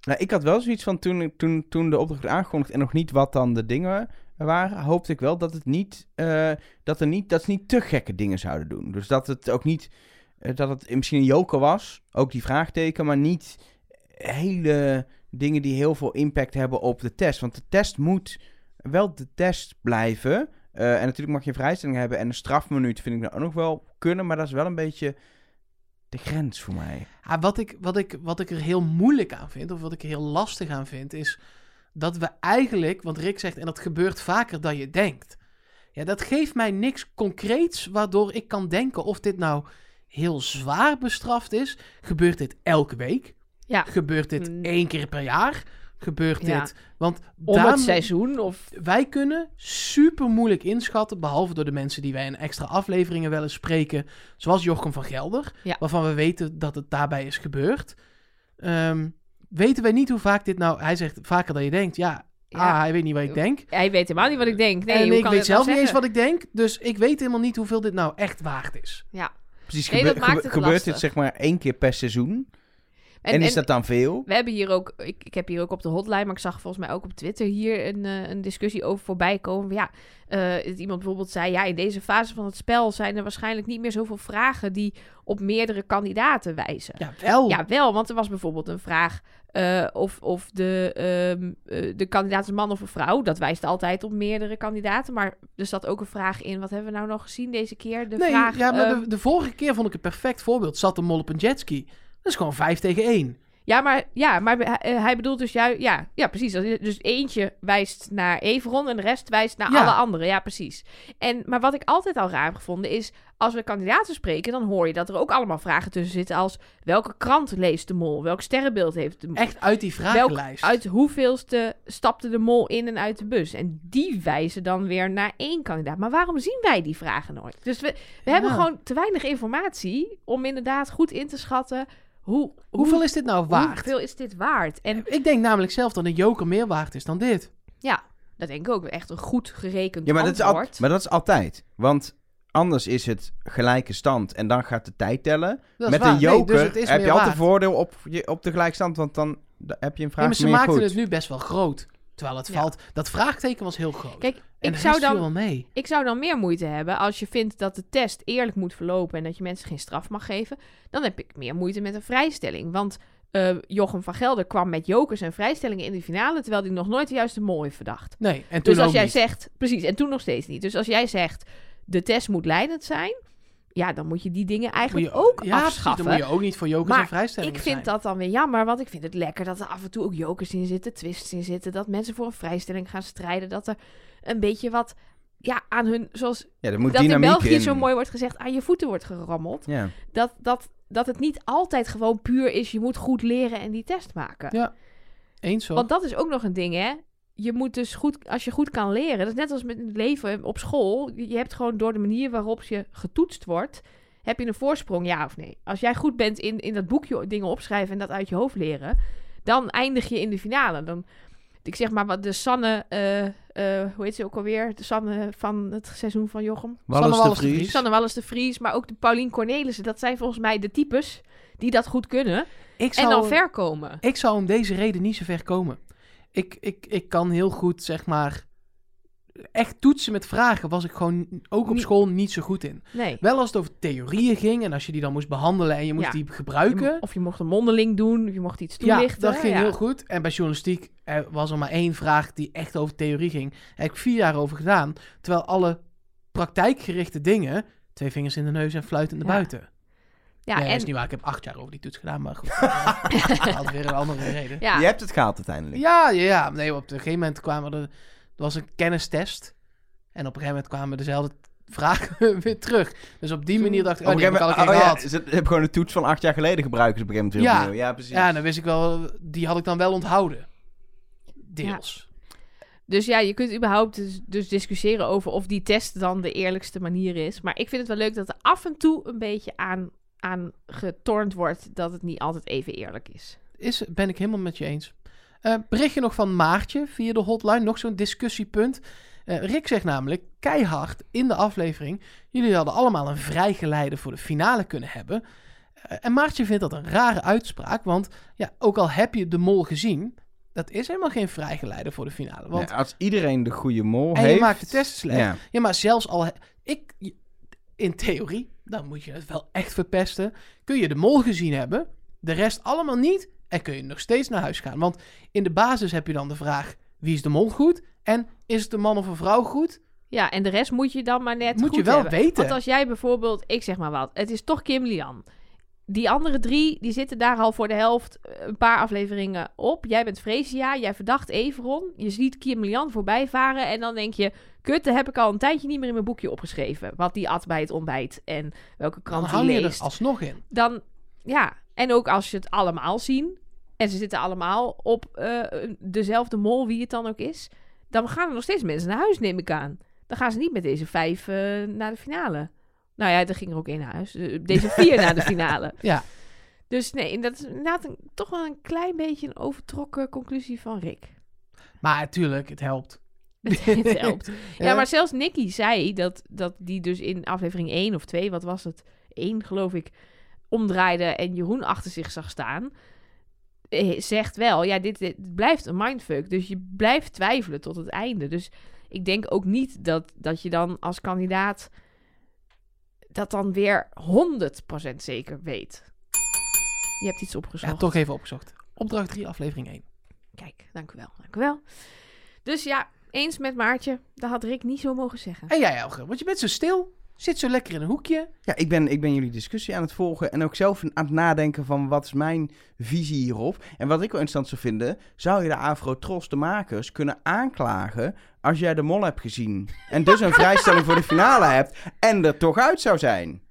Nou, ik had wel zoiets van toen, toen, toen de opdracht werd aangekondigd en nog niet wat dan de dingen waren, hoopte ik wel dat het niet, eh, dat er niet, dat ze niet te gekke dingen zouden doen. Dus dat het ook niet, eh, dat het misschien een joker was, ook die vraagteken, maar niet hele dingen die heel veel impact hebben op de test. Want de test moet wel de test blijven. Eh, en natuurlijk mag je een vrijstelling hebben en een strafminuut vind ik dan ook nog wel kunnen, maar dat is wel een beetje de grens voor mij.
Ja, wat, ik, wat, ik, wat ik er heel moeilijk aan vind, of wat ik er heel lastig aan vind, is dat we eigenlijk, want Rick zegt, en dat gebeurt vaker dan je denkt. Ja, dat geeft mij niks concreets waardoor ik kan denken of dit nou heel zwaar bestraft is. Gebeurt dit elke week?
Ja.
Gebeurt dit
Mm.
één keer per jaar? Gebeurt
Ja.
dit? Want
Om
daar
het
moet-
seizoen of...
wij kunnen super moeilijk inschatten, behalve door de mensen die wij in extra afleveringen wel eens spreken, zoals Jochem van Gelder,
Ja.
waarvan we weten dat het daarbij is gebeurd. Ehm, weten wij niet hoe vaak dit nou, hij zegt vaker dan je denkt, ja,
Ja,
ah, hij weet niet wat ik denk.
Hij weet helemaal niet wat ik denk. Nee,
en
hoe
ik
kan
weet
het nou
zelf niet eens
zeggen?
wat ik denk, dus ik weet helemaal niet hoeveel dit nou echt waard is.
Precies,
Nee,
gebe-
dat maakt
gebe-
het
gebeurt dit
lastig.
zeg maar één keer per seizoen? En,
En,
is
en
dat dan veel?
we hebben hier ook... Ik, ik heb hier ook op de hotline, maar ik zag volgens mij ook op Twitter hier een, eh, een discussie over voorbij komen. Ja, eh, dat iemand bijvoorbeeld zei... Ja, in deze fase van het spel zijn er waarschijnlijk niet meer zoveel vragen die op meerdere kandidaten wijzen.
Ja, wel.
Ja, wel, want er was bijvoorbeeld een vraag eh, of, of de, ehm, eh, de kandidaat is man of een vrouw. Dat wijst altijd op meerdere kandidaten. Maar er zat ook een vraag in, wat hebben we nou nog gezien deze keer? De
nee,
vraag,
ja, maar
ehm,
de, de vorige keer vond ik een perfect voorbeeld. Zat de mol op een jetski. Dat is gewoon vijf tegen één.
ja, maar, ja, maar hij- eh, hij bedoelt dus juist... Ja, ja, precies. Dat is- Dus eentje wijst naar Everon en de rest wijst naar
Ja.
alle anderen. Ja, precies. En, maar wat ik altijd al raar heb gevonden is... Als we kandidaten spreken, dan hoor je dat er ook allemaal vragen tussen zitten als... Welke krant leest de mol? Welk sterrenbeeld heeft de mol?
Echt uit die vragenlijst.
Welk, uit hoeveelste stapte de mol in en uit de bus? En die wijzen dan weer naar één kandidaat. Maar waarom zien wij die vragen nooit? Dus we, we hebben
Ja.
gewoon te weinig informatie om inderdaad goed in te schatten hoe,
Hoeveel is dit nou
hoe,
waard?
hoeveel is dit waard? En
Ik denk namelijk zelf dat een joker meer waard is dan dit.
dat denk ik ook echt een goed gerekend
Ja, maar dat, is al-
antwoord.
maar dat is altijd. Want anders is het gelijke stand en dan gaat de tijd tellen.
Dat is
Met
waar.
een
Nee,
joker
dus het is
heb
meer
je altijd
waard.
voordeel op, je, op de gelijkstand, want dan da- heb je een
Nee,
vraag
maar ze
meer
maakten
goed.
het nu best wel groot. Terwijl het
Ja.
valt. Dat vraagteken was heel groot.
Kijk,
en
ik
de
zou
rest viel
dan
wel mee.
Ik zou dan meer moeite hebben als je vindt dat de test eerlijk moet verlopen en dat je mensen geen straf mag geven. Dan heb ik meer moeite met een vrijstelling. Want eh, Jochem van Gelder kwam met jokers en vrijstellingen in de finale, terwijl hij nog nooit de juiste mol heeft verdacht.
Nee, en toen
dus als
ook
jij
niet.
zegt, precies, en toen nog steeds niet. Dus als jij zegt, de test moet leidend zijn, ja, dan moet je die dingen eigenlijk
Moet je-
ook
ja, precies,
afschaffen.
dan moet je ook niet voor jokers
Maar
en vrijstellingen
Ik vind
zijn.
dat dan weer jammer, want ik vind het lekker dat er af en toe ook jokers in zitten, twists in zitten. Dat mensen voor een vrijstelling gaan strijden. Dat er een beetje wat ja, aan hun, zoals
ja, er moet
dat in
dynamiek
België
in.
zo mooi wordt gezegd, aan je voeten wordt gerammeld.
Ja.
Dat, dat, dat het niet altijd gewoon puur is, je moet goed leren en die test maken.
Ja, Eens hoor.
Want dat is ook nog een ding, hè. Je moet dus goed, als je goed kan leren, dat is net als met het leven op school. Je hebt gewoon door de manier waarop je getoetst wordt, heb je een voorsprong, ja of nee. Als jij goed bent in, in dat boekje dingen opschrijven en dat uit je hoofd leren, dan eindig je in de finale. Dan, ik zeg maar, wat de Sanne, eh, eh, hoe heet ze ook alweer? De Sanne van het seizoen van Jochem.
Sanne Wallis de Vries.
Sanne Wallis de Vries, maar ook de Paulien Cornelissen. Dat zijn volgens mij de types die dat goed kunnen
ik,
en dan
zou,
ver komen.
ik zou om deze reden niet zo ver komen. Ik, ik, ik kan heel goed, zeg maar... Echt toetsen met vragen was ik gewoon ook op
Niet-
school niet zo goed in.
Nee.
Wel als het over theorieën ging en als je die dan moest behandelen en je moest
Ja.
die
Je mo-
gebruiken.
Of je mocht een mondeling doen, je mocht iets
Mm. Ja,
toelichten.
dat ging
ja.
heel goed. En bij journalistiek eh, was er maar één vraag die echt over theorie ging. Daar heb ik vier jaar over gedaan. Terwijl alle praktijkgerichte dingen... Twee vingers in de neus en fluit in de
Ja.
buiten.
Ja,
nee, dat is
en,
niet waar. Ik heb acht jaar over die toets gedaan, maar goed. Dat had weer een andere reden.
ja,
Je hebt het gehaald uiteindelijk.
Ja, ja, ja. Nee, op een gegeven moment kwamen er... Er was een kennistest. En op een gegeven moment kwamen dezelfde vragen weer terug. Dus op die manier dacht ik, oh,
Op
die
een
heb ik
gegeven
al een
moment-
keer
oh ja,
gehad.
ze ze hebben gewoon een toets van acht jaar geleden gebruiken ze op een gegeven moment
Ja.
weer opnieuw. Ja, precies.
Ja, dan wist ik wel... Die had ik dan wel onthouden. Deels.
dus ja, je kunt überhaupt dus, dus discussiëren over of die test dan de eerlijkste manier is. Maar ik vind het wel leuk dat er af en toe een beetje aan, aan getornd wordt dat het niet altijd even eerlijk is.
Is, ben ik helemaal met je eens. Eh, berichtje nog van Maartje via de hotline. Nog zo'n discussiepunt. Eh, Rick zegt namelijk keihard in de aflevering... jullie hadden allemaal een vrijgeleide voor de finale kunnen hebben. Eh, en Maartje vindt dat een rare uitspraak. Want ja, ook al heb je de mol gezien... dat is helemaal geen vrijgeleide voor de finale. Want
Ja, als iedereen de goede mol
en
heeft...
je maakt de test slecht. Ja.
Ja.
maar zelfs al... he- Ik, in theorie, dan moet je het wel echt verpesten. Kun je de mol gezien hebben, de rest allemaal niet... en kun je nog steeds naar huis gaan. Want in de basis heb je dan de vraag... wie is de mol goed? En is het een man of een vrouw goed?
Ja, en de rest moet je dan maar net
Moet je
goed
wel
hebben.
weten.
Want als jij bijvoorbeeld, ik zeg maar wat, het is toch Kim Lian. Die andere drie, die zitten daar al voor de helft eh, een paar afleveringen op. Jij bent Freesia, jij verdacht Everon. Je ziet Kim Lian voorbij varen en dan denk je... Kut, dat heb ik al een tijdje niet meer in mijn boekje opgeschreven. Wat die at bij het ontbijt en welke
Dan
krant die
hou je er
leest.
alsnog in.
Dan, ja, en ook als je het allemaal zien... en ze zitten allemaal op eh, dezelfde mol, wie het dan ook is... dan gaan er nog steeds mensen naar huis, neem ik aan. Dan gaan ze niet met deze vijf eh, naar de finale. Nou ja, er ging er ook één naar huis. Eh, Deze vier naar de finale.
Ja.
Dus nee, dat is inderdaad een- toch wel een klein beetje een overtrokken conclusie van Rick.
Maar natuurlijk, het helpt.
Het, het helpt. Ja,
Eh,
maar zelfs Nicky zei dat, dat die dus in aflevering 1 of 2, wat was het? 1 geloof ik, omdraaide en Jeroen achter zich zag staan. Eh, Zegt wel, ja, dit, dit blijft een mindfuck. Dus je blijft twijfelen tot het einde. Dus ik denk ook niet dat, dat je dan als kandidaat dat dan weer 100% zeker weet. Je hebt iets opgezocht.
ja, toch even opgezocht. Opdracht 3, aflevering 1.
Kijk, dank u wel, dank u wel. Dus ja, eens met Maartje. Dat had Rick niet zo mogen zeggen.
En jij, Elger, want je bent zo stil. Zit zo lekker in een hoekje.
Ja, ik ben, ik ben jullie discussie aan het volgen en ook zelf aan het nadenken van wat is mijn visie hierop. En wat ik wel interessant zou vinden, zou je de Afro-Tros, de makers, kunnen aanklagen als jij de mol hebt gezien. En dus een vrijstelling voor de finale hebt en er toch uit zou zijn.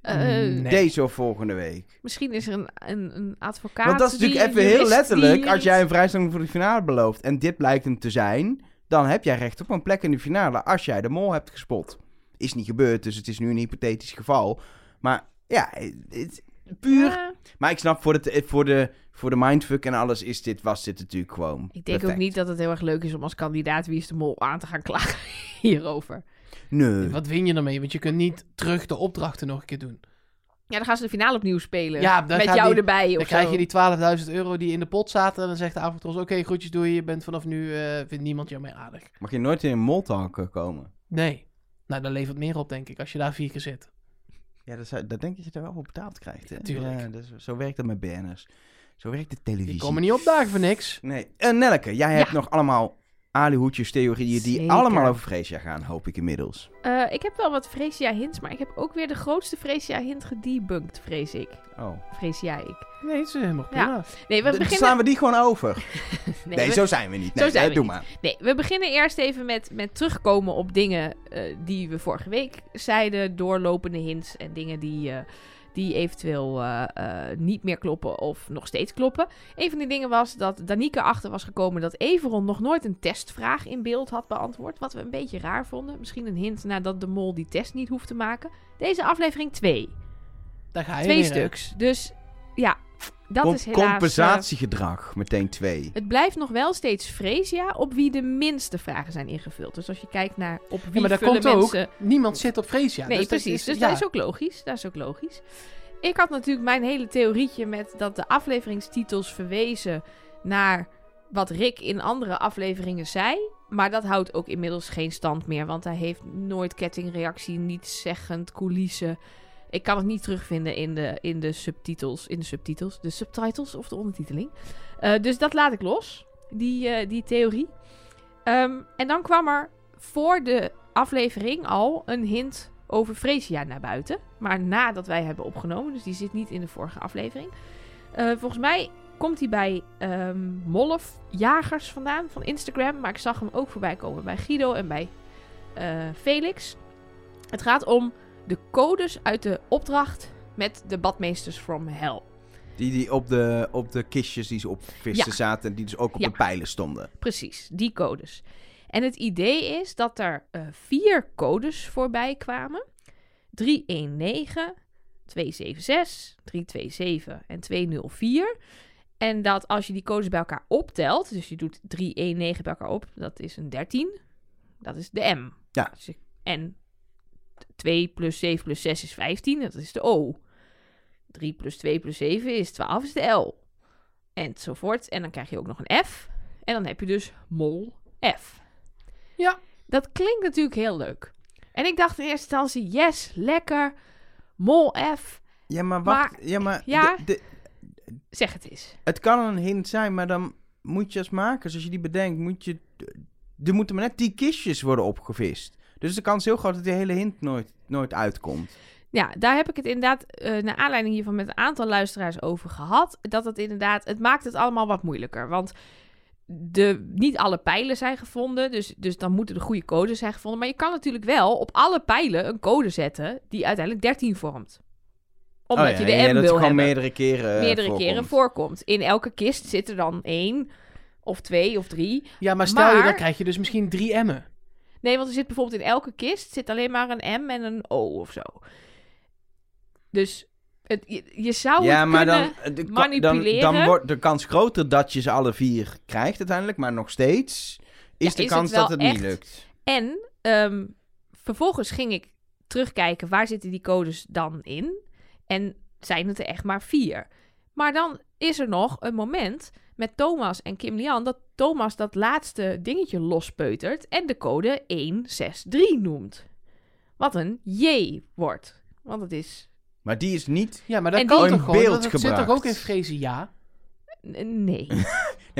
Eh,
Nee.
Deze of volgende week.
Misschien is er een, een, een advocaat.
Want dat is
die-
natuurlijk
een
even heel
jurist die
letterlijk,
hier
als
iets-
jij een vrijstelling voor de finale belooft en dit blijkt hem te zijn, dan heb jij recht op een plek in de finale als jij de mol hebt gespot. Is niet gebeurd, dus het is nu een hypothetisch geval. Maar ja, het, het- puur
Ja,
Maar ik snap, voor, het, eh, voor, de, voor de mindfuck en alles is dit, was dit natuurlijk gewoon
ik denk ook
perfect.
niet dat het heel erg leuk is om als kandidaat wie is de mol aan te gaan klagen hierover.
Nee.
Wat win je ermee? Want je kunt niet terug de opdrachten nog een keer doen.
Ja, dan gaan ze de finale opnieuw spelen.
Ja, dan
met
gaat
jou
die-
erbij.
Dan
of
krijg
zo.
je die 12.000 euro die in de pot zaten. En dan zegt de avondtros, oké, groetjes doei. Je bent vanaf nu, eh, vindt niemand jou meer aardig.
Mag je nooit in een moltalker komen?
Nee. Nou, dat levert meer op, denk ik, als je daar vier keer zit.
Ja, dat, zou- dat denk ik dat je er wel voor betaald krijgt. Hè?
Tuurlijk.
Ja, dat is- zo werkt dat met BN'ers. Zo werkt de
Die
televisie.
komen niet opdagen voor niks.
Nee. En Nelke, jij hebt nog allemaal alihoedjes theorieën die
Zeker.
allemaal over Freesia gaan, hoop ik inmiddels.
Eh, ik heb wel wat Freesia hints, maar ik heb ook weer de grootste Freesia hint gedebunked, vrees ik.
Oh.
Vrees jij ik.
Nee, het is helemaal
Ja.
prima.
Nee, we
Dan
beginnen.
slaan we die gewoon over.
Nee,
Nee,
we-
zo zijn we niet.
Zo
Nee,
zijn
eh,
we
doe
niet.
maar.
Nee, we beginnen eerst even met, met terugkomen op dingen eh, die we vorige week zeiden. Doorlopende hints en dingen die, eh, die eventueel eh, eh, niet meer kloppen of nog steeds kloppen. Een van die dingen was dat Danieke achter was gekomen dat Everon nog nooit een testvraag in beeld had beantwoord. Wat we een beetje raar vonden. Misschien een hint nadat de mol die test niet hoeft te maken. Deze aflevering twee.
Daar ga je
twee
weer, hè.
stuks. Dus ja, dat
Com-
is helaas... eh,
compensatiegedrag, meteen twee.
het blijft nog wel steeds Freesia op wie de minste vragen zijn ingevuld. Dus als je kijkt naar op wie
Ja, maar daar
vullen
komt ook,
mensen...
niemand zit op Freesia.
nee,
dus dat
precies.
is-
dus
ja.
dat is ook logisch. Dat is ook logisch. Ik had natuurlijk mijn hele theorietje met dat de afleveringstitels verwezen naar wat Rick in andere afleveringen zei. Maar dat houdt ook inmiddels geen stand meer. Want hij heeft nooit kettingreactie, nietszeggend, coulissen. Ik kan het niet terugvinden in de, in de subtitels. In de subtitels. De subtitles of de ondertiteling. Eh, dus dat laat ik los. Die, eh, die theorie. Ehm, en dan kwam er voor de aflevering al een hint over Freesia naar buiten. Maar nadat wij hebben opgenomen, dus die zit niet in de vorige aflevering. Eh, volgens mij komt hij bij ehm Molf Jagers vandaan van Instagram. Maar ik zag hem ook voorbij komen bij Guido en bij eh, Felix. Het gaat om de codes uit de opdracht met de badmeesters from Hell.
Die, die op, de, op de kistjes die ze opvisten
Ja.
zaten en die dus ook op
Ja.
de pijlen stonden.
Precies, die codes. En het idee is dat er eh, vier codes voorbij kwamen. 319, 276, 327 en 204. En dat als je die codes bij elkaar optelt, dus je doet 319 bij elkaar op, dat is een 13. Dat is de M.
Ja.
Dus je- En 2 plus 7 plus 6 is 15, dat is de O. 3 plus 2 plus 7 is 12, is de L. Enzovoort. En dan krijg je ook nog een F. En dan heb je dus mol F.
Ja.
Dat klinkt natuurlijk heel leuk. En ik dacht in eerste instantie, yes, lekker. Mol F,
Ja, maar wacht.
Maar-
ja, maar
ja.
de- de-
zeg het eens.
het kan een hint zijn, maar dan moet je als makers, als je die bedenkt, moet je... Er moeten maar net die kistjes worden opgevist. Dus de kans is heel groot dat die hele hint nooit, nooit uitkomt.
Ja, daar heb ik het inderdaad, eh naar aanleiding hiervan, met een aantal luisteraars over gehad. Dat het inderdaad, het maakt het allemaal wat moeilijker. Want de, niet alle pijlen zijn gevonden, dus, dus dan moeten de goede codes zijn gevonden. Maar je kan natuurlijk wel op alle pijlen een code zetten die uiteindelijk 13 vormt. Omdat
Oh ja,
je de
ja,
M
dat het
wil
gewoon
hebben.
meerdere keren eh,
meerdere keren
voorkomt.
voorkomt. In elke kist zit er dan één of twee of drie.
Ja, maar stel je,
Maar-
dan krijg je dus misschien drie emmen.
Nee, want er zit bijvoorbeeld in elke kist zit alleen maar een M en een O of zo. Dus het, je, je zou
ja,
Oh, het
maar
kunnen...
dan, eh, de ka-
manipuleren.
Dan, dan wordt de kans groter dat je ze alle vier krijgt uiteindelijk. Maar nog steeds is
Ja,
de
is
kans
het wel
dat het
echt?
niet lukt.
En ehm, vervolgens ging ik terugkijken waar zitten die codes dan in. En zijn het er echt maar vier. Maar dan is er nog een moment met Thomas en Kim Lian dat Thomas dat laatste dingetje lospeutert en de code 163 noemt. Wat een J wordt. Want het is.
Maar die is niet...
Ja, maar dat
En
kan
die-
toch
In
gewoon?
beeld
dat dat zit toch
gebracht.
ook in Freesia? ja?
n- Nee.
Nee,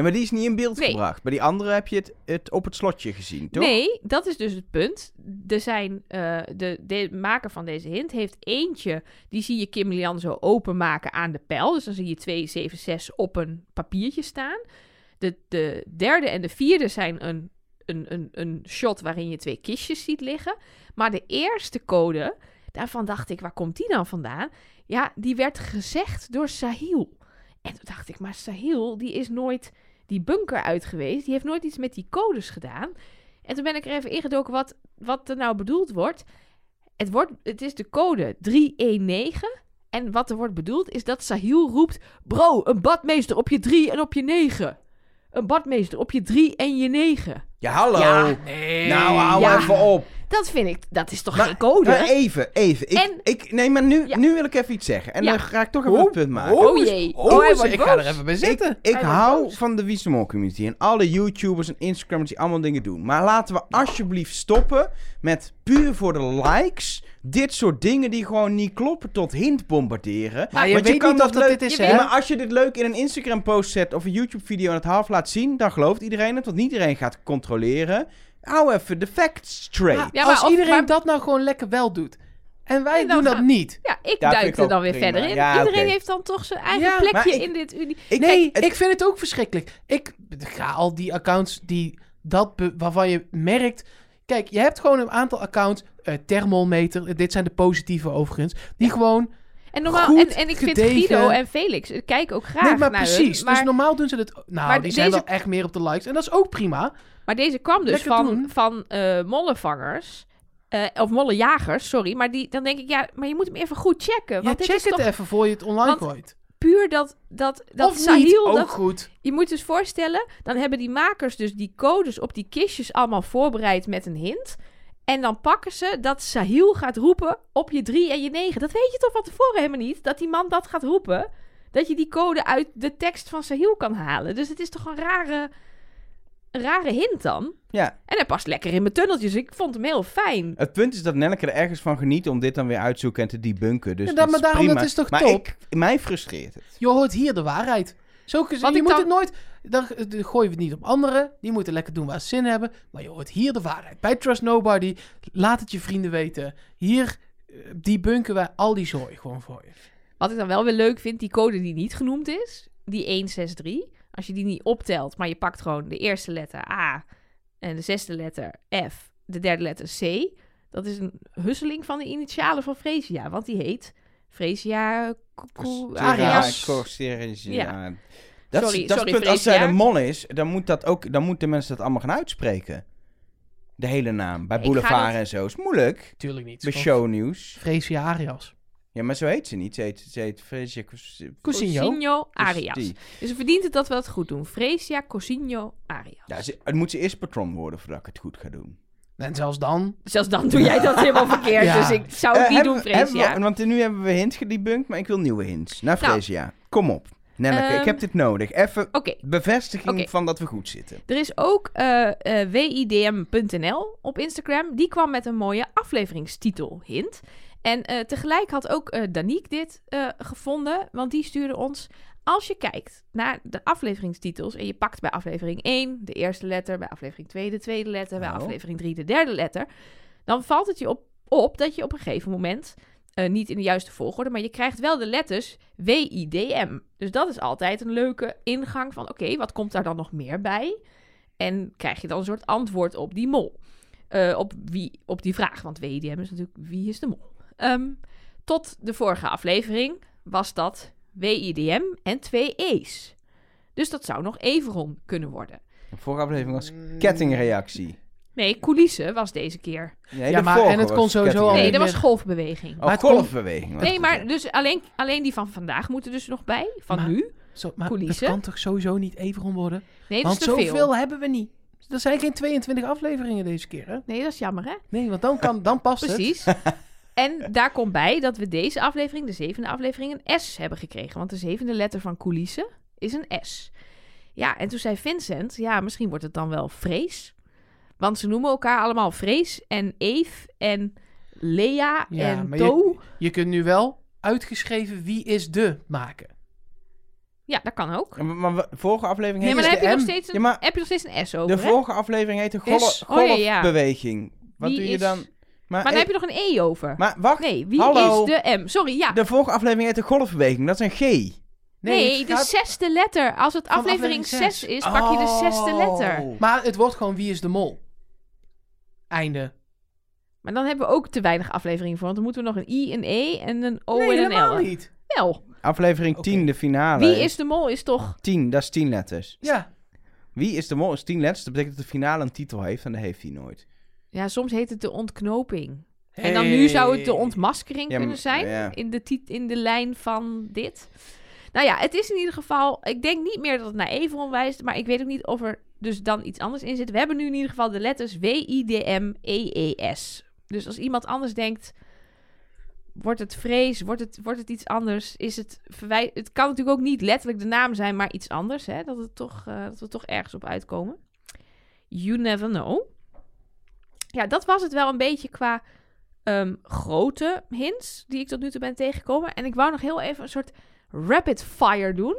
maar die is niet in beeld
Nee.
gebracht. Bij die andere heb je het, het op het slotje gezien, toch?
Nee, dat is dus het punt. Er zijn, eh, de, de maker van deze hint heeft eentje, die zie je Kim Lian zo openmaken aan de pijl. Dus dan zie je 276 op een papiertje staan. De, de derde en de vierde zijn een, een, een, een shot waarin je twee kistjes ziet liggen. Maar de eerste code, daarvan dacht ik, waar komt die dan vandaan? Ja, die werd gezegd door Sahil. En toen dacht ik, maar Sahil, die is nooit die bunker uit geweest. Die heeft nooit iets met die codes gedaan. En toen ben ik er even ingedoken wat, wat er nou bedoeld wordt. Het, wordt. het is de code 319. En wat er wordt bedoeld is dat Sahil roept... Bro, een badmeester op je 3 en op je 9. Een badmeester op je 3 en je 9.
Ja, hallo.
Ja.
Nee.
Nou, hou
Ja.
even op.
Dat vind ik... Dat is toch
Maar-
geen code?
Maar even, even. Ik,
En-
ik, nee, maar nu,
Ja.
nu wil ik even iets zeggen. En
Ja.
dan ga ik toch even het punt maken.
Oh jee.
Oh,
Oh, hij wordt
ik ga
boos.
er even bij zitten.
Ik, ik
Hij wordt
hou
boos.
van de Wissemol community en alle YouTubers en Instagrammers die allemaal dingen doen. Maar laten we alsjeblieft stoppen met puur voor de likes dit soort dingen die gewoon niet kloppen tot hint bombarderen.
maar je
Want
weet
je kan
niet
dat
of dat
leuk-
dit is,
je
Ja,
hè?
maar als je dit leuk in een Instagram post zet of een YouTube video en het half laat zien, dan gelooft iedereen het, want niet iedereen gaat controleren. Hou even de facts straight.
Maar
Ja, maar
als
of-
iedereen
maar-
dat nou gewoon lekker wel doet. En wij
En dan
doen dat
gaan-
niet.
Ja, ik
Ja, vind
duik
ik
er
ook
dan weer
prima.
verder in.
Ja,
Iedereen
oké.
heeft dan toch zijn eigen
Ja,
plekje
maar ik-
in dit unie.
Ik-
nee,
het-
ik vind het ook verschrikkelijk. Ik ga al die accounts die dat be- waarvan je merkt. Kijk, je hebt gewoon een aantal accounts. eh, thermometer, eh, dit zijn de positieve overigens. Die gewoon.
En, normaal, en,
Goed
en ik
gedegen.
vind Guido en Felix, ik kijk ook graag
nee, maar
naar
precies.
hun, maar,
Dus normaal doen ze het. Nou,
Maar
die zijn
deze-
wel echt meer op de likes. En dat is ook prima.
maar deze kwam dus
Lekker
van,
doen.
van eh, mollenvangers. eh, of mollenjagers, sorry. Maar die, dan denk ik, ja, maar je moet hem even goed checken.
Ja,
Want
check
dit
het
is toch
even voor je het online
Want-
gooit.
puur dat, dat, dat
of niet,
Sahil...
ook
dat,
goed.
Je moet dus voorstellen, dan hebben die makers dus die codes op die kistjes allemaal voorbereid met een hint. En dan pakken ze dat Sahil gaat roepen op je 3 en je 9. Dat weet je toch van tevoren helemaal niet? Dat die man dat gaat roepen. Dat je die code uit de tekst van Sahil kan halen. Dus het is toch een rare, een rare hint dan?
Ja.
En hij past lekker in mijn tunneltjes. Ik vond hem heel fijn.
Het punt is dat Nelleke er ergens van geniet om dit dan weer uit te zoeken en te debunken. Dus
Ja,
dat
maar
is
daarom,
prima.
dat is toch
maar
top?
Ik, mij frustreert het.
Je hoort hier de waarheid. Zo, kun- je
Wat ik
moet
dan-
het nooit. Dan eh, dan gooien we het niet op anderen. Die moeten lekker doen waar ze zin in hebben. Maar je hoort hier de waarheid. Bij Trust Nobody. Laat het je vrienden weten. Hier eh, debunken wij al die zooi gewoon voor je.
Wat ik dan wel weer leuk vind, die code die niet genoemd is, die 163. Als je die niet optelt, maar je pakt gewoon de eerste letter A en de zesde letter F, de derde letter C. Dat is een husseling van de initialen van Fresia, want die heet Fresia Koekoe- Arias.
Arias.
Ja.
Ja.
Dat,
Sorry,
is, dat is
sorry,
het punt. Als zij
Freesia.
de mol is, dan, moet dat ook, dan moeten mensen dat allemaal gaan uitspreken. De hele naam. Bij
Ik ga
Boulevard
dat-
en zo. Is moeilijk.
Tuurlijk niet.
Bij
Het is
shownieuws.
gewoon Freesia Arias.
Ja, maar zo heet ze niet. Ze heet, ze heet Freesia Cous-
Cousinho.
Cosinho Arias.
die.
Dus het verdient het dat we dat goed doen. Fresia Cosinho Arias.
Ja, ze, het moet ze eerst patron worden voordat ik het goed ga doen.
En zelfs dan.
Zelfs dan doe jij dat helemaal verkeerd,
Ja.
dus ik zou het
Eh,
niet
hebben
doen,
we- hebben we-
Fresia.
want nu hebben we hints gedebunkt, maar ik wil nieuwe hints. Naar
Nou.
Freesia. Kom op. Nelleke, ik
Ehm,
heb dit nodig. Even
Oké,
bevestiging
Oké.
van dat we goed zitten.
Er is ook eh, eh, widm.nl op Instagram. Die kwam met een mooie afleveringstitel, hint. En eh, tegelijk had ook eh Danique dit eh, gevonden, want die stuurde ons... Als je kijkt naar de afleveringstitels en je pakt bij aflevering 1 de eerste letter, bij aflevering 2 de tweede letter, bij
Oh.
aflevering 3 de derde letter, dan valt het je op, op dat je op een gegeven moment, eh, niet in de juiste volgorde, maar je krijgt wel de letters WIDM. Dus dat is altijd een leuke ingang van oké, wat komt daar dan nog meer bij? En krijg je dan een soort antwoord op die mol. Eh, op, wie, op die vraag. Want WIDM is natuurlijk wie is de mol. Ehm, tot de vorige aflevering was dat WIDM en twee E's. Dus dat zou nog Everon kunnen worden.
De vorige aflevering was Mm. kettingreactie.
Nee, coulisse was deze keer.
Nee,
Ja,
de
maar-
vorige
en het
was
kon sowieso al-
Nee,
kettingreactie.
dat was
meer-
golfbeweging.
Oh,
Maar het kon-
golfbeweging. was
nee,
het.
maar dus alleen, alleen die van vandaag moeten dus nog bij. Van
Maar-
nu.
Zo, maar dat
Coulissen.
kan toch sowieso niet Everon worden?
Nee, dat
Want
is te
zoveel
veel.
hebben we niet. Er zijn geen 22 afleveringen deze keer, hè?
Nee, dat is jammer, hè?
Nee, want dan, kan, dan past het.
Precies. En daar komt bij dat we deze aflevering, de zevende aflevering, een S hebben gekregen. Want de zevende letter van coulisse is een S. Ja, en toen zei Vincent, ja, misschien wordt het dan wel Vrees. Want ze noemen elkaar allemaal Vrees en Eve en Lea
Ja,
en
maar
Do.
je, je kunt nu wel uitgeschreven wie is de maken.
Ja, dat kan ook.
Ja, Maar, maar we- vorige aflevering
Nee,
heette...
maar dan
is
heb je,
de
nog
M.
steeds een,
Ja, maar
heb je nog steeds een S over,
de
hè?
vorige aflevering heette golle-
Is-
oh, ja, ja.
golfbeweging. Wat
Wie
doe je
is-
dan? Maar,
Maar dan
eh,
heb je nog een E over.
maar wacht,
Nee, wie
hallo.
is de M? Sorry, ja.
de vorige aflevering heette golfbeweging. Dat is een G.
nee,
het
de
gaat-
zesde letter. Als het aflevering
aflevering
6
zes.
is, pak je de zesde letter.
Oh.
Maar het wordt gewoon wie is de mol. Einde.
Maar dan hebben we ook te weinig afleveringen voor. Want dan moeten we nog een I, een E en een O
nee,
en een L.
helemaal niet.
Wel,
Aflevering
Oké.
10, de finale.
wie is de mol is toch...
10, dat is 10 letters.
Ja,
Wie is de mol is 10 letters. Dat betekent dat de finale een titel heeft en dat heeft hij nooit.
Ja, soms heet het de ontknoping. En dan nu zou het de ontmaskering
Ja,
kunnen
m-
zijn.
ja.
In, de tit- in de lijn van dit. Nou ja, het is in ieder geval... Ik denk niet meer dat het naar Everon wijst. Maar ik weet ook niet of er dus dan iets anders in zit. We hebben nu in ieder geval de letters W-I-D-M-E-E-S. E Dus als iemand anders denkt... Wordt het vrees? Wordt het, wordt het iets anders? Is het, verwij- het kan natuurlijk ook niet letterlijk de naam zijn, maar iets anders. Hè? Dat, het toch, eh, dat we toch ergens op uitkomen. You never know. Ja, dat was het wel een beetje qua ehm, grote hints die ik tot nu toe ben tegengekomen. En ik wou nog heel even een soort rapid fire doen.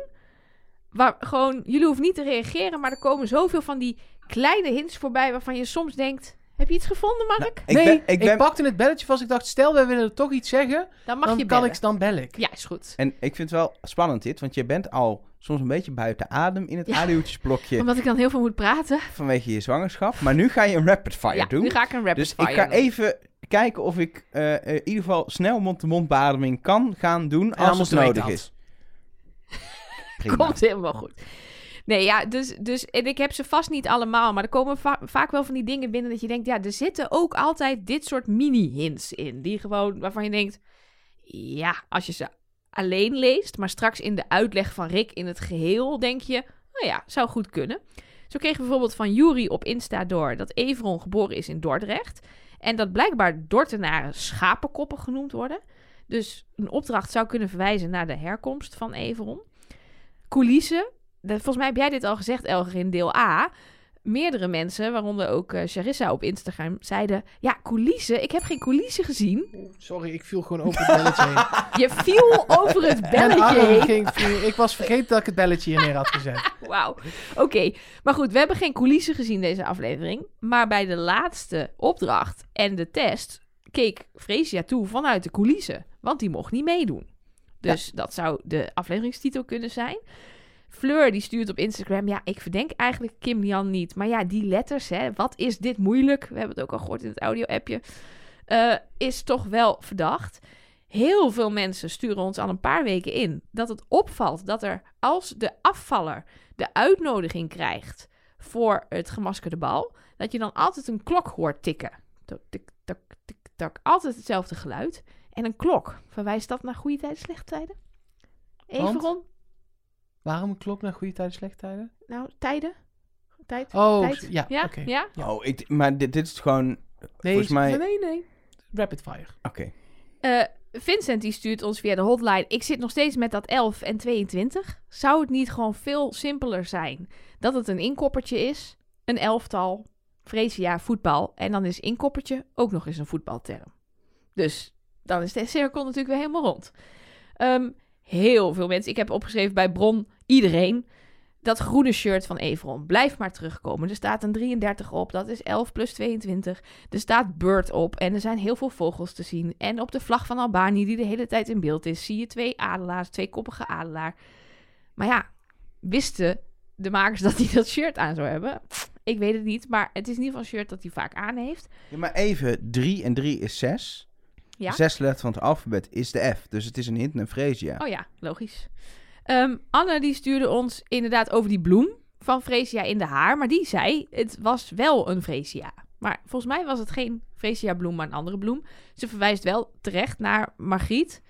Waar gewoon, jullie hoeven niet te reageren, maar er komen zoveel van die kleine hints voorbij waarvan je soms denkt: heb je iets gevonden, Mark?
Ik
nee,
ben-
ik,
ik ben-
pakte het belletje vast. Ik dacht, stel wij willen er toch iets zeggen,
Dan mag
dan,
je
kan
bellen.
ik, dan bel ik.
Ja, is goed.
En ik vind het wel spannend dit, want je bent al soms een beetje buiten adem in het
Ja.
aluwtjesblokje
Omdat ik dan heel veel moet praten.
vanwege je zwangerschap. Maar nu ga je een rapid fire
Ja,
doen.
nu ga ik een rapid
Dus
fire
ik ga
doen.
even kijken of ik eh, eh, in ieder geval snel mond-to-mond beademing kan gaan doen als
anders
het
doe ik
nodig
dat.
is. Prima.
Komt helemaal goed. Nee, ja, dus, dus en ik heb ze vast niet allemaal, maar er komen va- vaak wel van die dingen binnen dat je denkt, ja, er zitten ook altijd dit soort mini-hints in, die gewoon, waarvan je denkt, ja, als je ze alleen leest, maar straks in de uitleg van Rick in het geheel, denk je, nou ja, zou goed kunnen. Zo kregen we bijvoorbeeld van Jury op Insta door dat Everon geboren is in Dordrecht en dat blijkbaar Dordtenaren schapenkoppen genoemd worden. Dus een opdracht zou kunnen verwijzen naar de herkomst van Everon coulissen. Dat, volgens mij heb jij dit al gezegd, Elger, in deel A. meerdere mensen, waaronder ook eh, Charissa op Instagram, zeiden... Ja, coulissen? Ik heb geen coulissen gezien.
Oeh, Sorry, ik viel gewoon over het belletje heen.
Je viel over het
Mijn
belletje
arm
heen.
ging- ik was vergeten dat ik het belletje hier neer had gezet.
Wauw. Oké, maar goed, we hebben geen coulissen gezien deze aflevering. Maar bij de laatste opdracht en de test keek Freesia toe vanuit de coulissen. Want die mocht niet meedoen. Dus dat zou de afleveringstitel kunnen zijn. Fleur die stuurt op Instagram, ja, ik verdenk eigenlijk Kim Lian niet. Maar ja, die letters, hè, wat is dit moeilijk? We hebben het ook al gehoord in het audio-appje. Eh, is toch wel verdacht. Heel veel mensen sturen ons al een paar weken in dat het opvalt dat er als de afvaller de uitnodiging krijgt voor het gemaskerde bal, dat je dan altijd een klok hoort tikken. Tok, tik, tak, tik, tak. Altijd hetzelfde geluid. En een klok. Verwijst dat naar goede tijden, slechte tijden? Even
Want?
rond.
Waarom een klok naar goede tijden, slechte tijden?
Nou, tijden. Tijd.
Oh,
tijd.
ja,
ja,
oké.
ja.
Oh, ik, maar dit, dit is gewoon...
Nee,
Volgens mij-
nee, nee. Rapid fire.
Oké.
Eh, Vincent die stuurt ons via de hotline. Ik zit nog steeds met dat 11 en 22. Zou het niet gewoon veel simpeler zijn dat het een inkoppertje is, een elftal, Freesia voetbal en dan is inkoppertje ook nog eens een voetbalterm. Dus dan is de cirkel natuurlijk weer helemaal rond. Ehm, heel veel mensen. Ik heb opgeschreven bij Bron iedereen. Dat groene shirt van Everon blijft maar terugkomen. Er staat een 33 op. Dat is 11 plus 22. Er staat Bird op en er zijn heel veel vogels te zien. En op de vlag van Albanië, die de hele tijd in beeld is, zie je twee adelaars, twee koppige adelaar. Maar ja, wisten de makers dat hij dat shirt aan zou hebben? Ik weet het niet, maar het is in ieder geval een shirt dat hij vaak aan heeft.
Ja, maar even, 3 en 3 is 6.
Ja.
Zes letter van het alfabet is de F. Dus het is een hint naar Freesia.
Oh ja, logisch. Ehm, Anne die stuurde ons inderdaad over die bloem van Freesia in de haar. Maar die zei, het was wel een Freesia. Maar volgens mij was het geen Freesia bloem, maar een andere bloem. Ze verwijst wel terecht naar Margriet.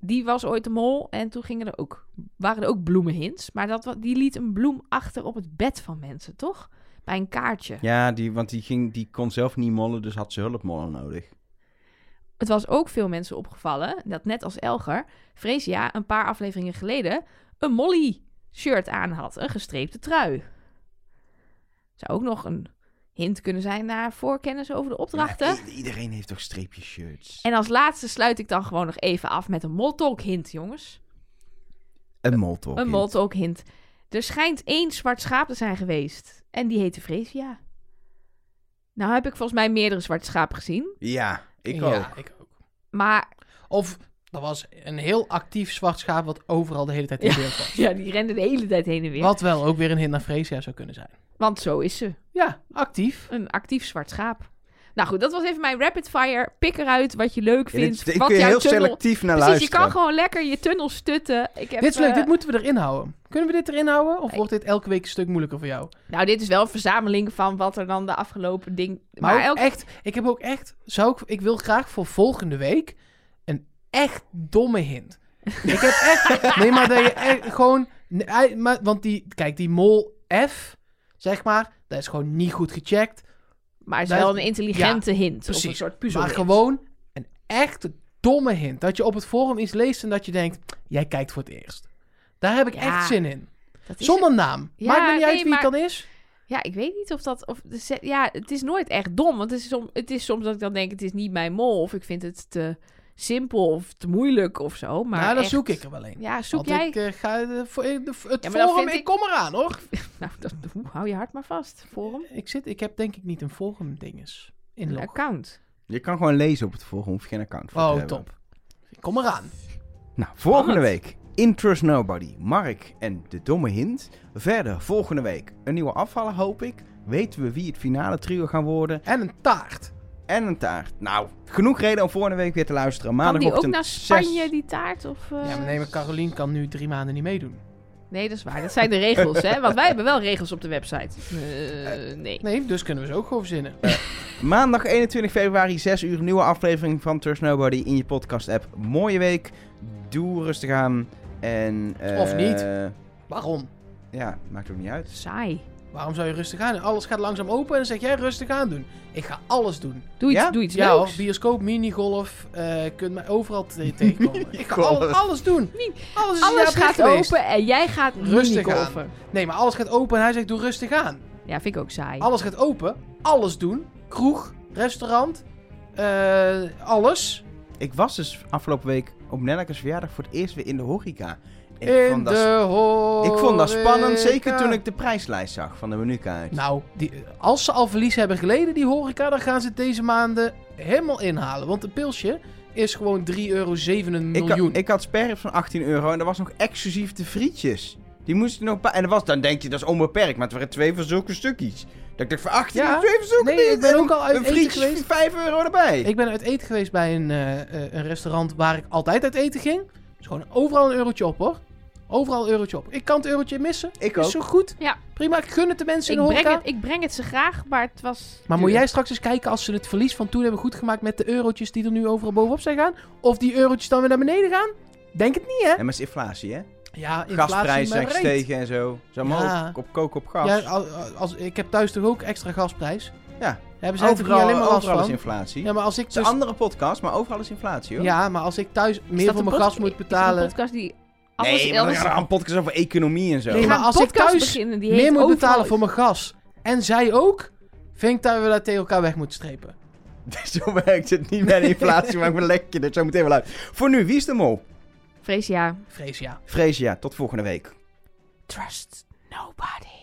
Die was ooit de mol en toen gingen er ook, waren er ook bloemenhints. Maar dat, wa- die liet een bloem achter op het bed van mensen, toch? Bij een kaartje.
Ja, die, want die, ging, die kon zelf niet mollen, dus had ze hulpmollen nodig.
Het was ook veel mensen opgevallen dat net als Elger, Freesia een paar afleveringen geleden een Molly shirt aan had, een gestreepte trui. Zou ook nog een hint kunnen zijn naar voorkennis over de opdrachten.
Ja, i- iedereen heeft toch streepjes shirts?
En als laatste sluit ik dan gewoon nog even af met een moltalk hint, jongens.
Een moltol.
Een moltalk hint. Er schijnt één zwart schaap te zijn geweest en die heette Freesia. Nou heb ik volgens mij meerdere zwarte schapen gezien,
Ja, ik
ja,
ook.
ik ook.
maar
Of er was een heel actief zwart schaap wat overal de hele tijd in
Ja.
beeld was.
ja, die renden de hele tijd heen en weer.
Wat wel ook weer een hint naar Freesia zou kunnen zijn.
Want zo is ze.
Ja, actief.
Een actief zwart schaap. Nou goed, dat was even mijn rapid fire. Pik eruit wat je leuk
Ja, dit,
vindt.
dit
wat
kun je
jouw
heel
tunnel...
selectief naar
Precies, je
luisteren.
kan gewoon lekker je tunnel stutten. Ik heb,
dit is leuk,
eh,
dit moeten we erin houden. Kunnen we dit erin houden? Of
Nee.
wordt dit elke week een stuk moeilijker voor jou?
Nou, dit is wel een verzameling van wat er dan de afgelopen ding...
Maar, ook
elke-
echt, ik heb ook echt, zou ik, ik wil graag voor volgende week een echt domme hint. ik heb echt, nee, maar dat je echt gewoon, nee, hij- maar, want die, kijk, die mol F, zeg maar, dat is gewoon niet goed gecheckt.
Maar het is
dat-
wel een intelligente hint. Of een
precies.
soort puzzel.
maar gewoon een echt domme hint. Dat je op het forum iets leest en dat je denkt, jij kijkt voor het eerst. Daar heb ik
Ja,
echt zin in.
Dat is
Zonder naam.
Ja,
Maakt me niet
nee,
uit wie
maar-
het dan is.
Ja, ik weet niet of dat... Of de se- ja, het is nooit echt dom. Want het is, som- het is soms dat ik dan denk, het is niet mijn mol. Of ik vind het te simpel of te moeilijk of zo. Maar
nou, dan
echt-
zoek ik er wel een.
Ja, zoek
Want
jij...
ik eh, ga de, voor- de- het
Ja, maar dan
forum,
vind
ik
ik-
kom eraan hoor.
Nou, dat, oeh, hou je hart maar vast. Forum.
Ik, zit, ik heb denk ik niet een forum dinges in
Een
log.
account.
Je kan gewoon lezen op het volgende, hoef je geen account voor te
Oh,
hebben.
top. Kom eraan.
Nou, volgende
Spannend.
week Interest Nobody, Mark en de Domme Hint. Verder volgende week een nieuwe afvaller, hoop ik. Weten we wie het finale trio gaan worden.
En een taart.
Eh,
En een taart. Nou, genoeg reden om volgende week weer te luisteren.
Kan die ook
Maandagochtend
naar
zes-
Spanje, die taart? Of, eh,
Ja, maar nee, maar Carolien kan nu drie maanden niet meedoen.
Nee, dat is waar. Dat zijn de regels, hè? Want wij hebben wel regels op de website. Eh, nee.
Nee, dus kunnen we ze ook gewoon verzinnen.
Maandag 21 februari, 6 uur, nieuwe aflevering van Trust Nobody in je podcast-app. Mooie week. Doe rustig aan. En, eh,
Of niet. Waarom?
Ja, maakt ook niet uit.
Saai.
Waarom zou je rustig aan doen? Alles gaat langzaam open en dan zeg jij rustig aan doen. Ik ga alles doen.
Doe iets,
Ja?
doe iets
ja hoor,
leuks.
bioscoop, minigolf, eh kunt mij overal te- tegenkomen. Ik ga
Minigolf.
alles, alles doen.
Min-
Alles, is een
Alles
jaar
gaat
terug geweest.
open en jij gaat
Rustig
minigolfen.
Nee, maar alles gaat open en hij zegt doe rustig aan.
Ja, vind ik ook saai.
Alles gaat open. Alles doen. Kroeg, restaurant, eh, alles.
Ik was dus afgelopen week op Nellekes verjaardag voor het eerst weer in de horeca. En ik,
In
vond dat,
de
ik vond dat spannend, zeker
horeca.
toen ik de prijslijst zag van de menukaart.
Nou, die, als ze al verlies hebben geleden, die horeca, dan gaan ze het deze maanden helemaal inhalen. Want een pilsje is gewoon 3,7
ik, had,
miljoen.
ik had sperrips van 18 euro en er was nog exclusief de frietjes. Die moesten nog... pa- En er was, dan denk je, dat is onbeperkt, maar het waren twee van zulke stukjes. Dat ik dacht, voor 18
Ja,
euro twee van zulke
nee, ik
dingen.
ben
En
ook al uit
Een
eten
frietje
geweest.
5 euro erbij.
Ik ben uit eten geweest bij een, eh, eh, een restaurant waar ik altijd uit eten ging. Dus gewoon overal een eurotje op hoor. Overal een eurotje op. Ik kan het eurotje missen.
Ik
is
ook.
zo goed.
Ja.
Prima, ik gun het de mensen
ik,
in de
breng
horeca.
het, ik breng het ze graag, maar het was...
Maar moet
duur.
jij straks eens kijken als ze het verlies van toen hebben goed gemaakt met de eurotjes die er nu overal bovenop zijn gaan. Of die eurotjes dan weer naar beneden gaan. Denk het niet hè?
En maar het is inflatie, hè?
Ja, inflatie,
Gasprijzen
maar
zijn
reet.
gestegen en zo. Zo
Ja.
maar ook op kook op gas.
Ja, als, als, ik heb thuis toch ook extra gasprijs.
Ja.
Hebben zij toch niet
overal
alleen maar last
overal is
van?
inflatie.
Ja, maar als ik
Het is
dus,
een andere podcast, maar overal is inflatie, hoor.
ja, maar als ik thuis
Is
meer
dat
voor
een
mijn
pod-
gas moet
Is dat
betalen.
een podcast die... alles
Nee, maar we
elders...
gaan een podcast over economie en zo.
Nee,
We
maar
gaan
als
een
ik
podcast
thuis
beginnen, die
meer
heet
moet
overal
betalen
iets.
voor mijn gas. En zij ook. Vind ik dat we dat tegen elkaar weg moeten strepen.
Zo werkt het niet bij de inflatie, maar ik ben lekker. Dat zo meteen wel uit. Voor nu, wie is de mol?
Freesia,
Vrees ja.
Freesia, tot volgende week.
trust nobody.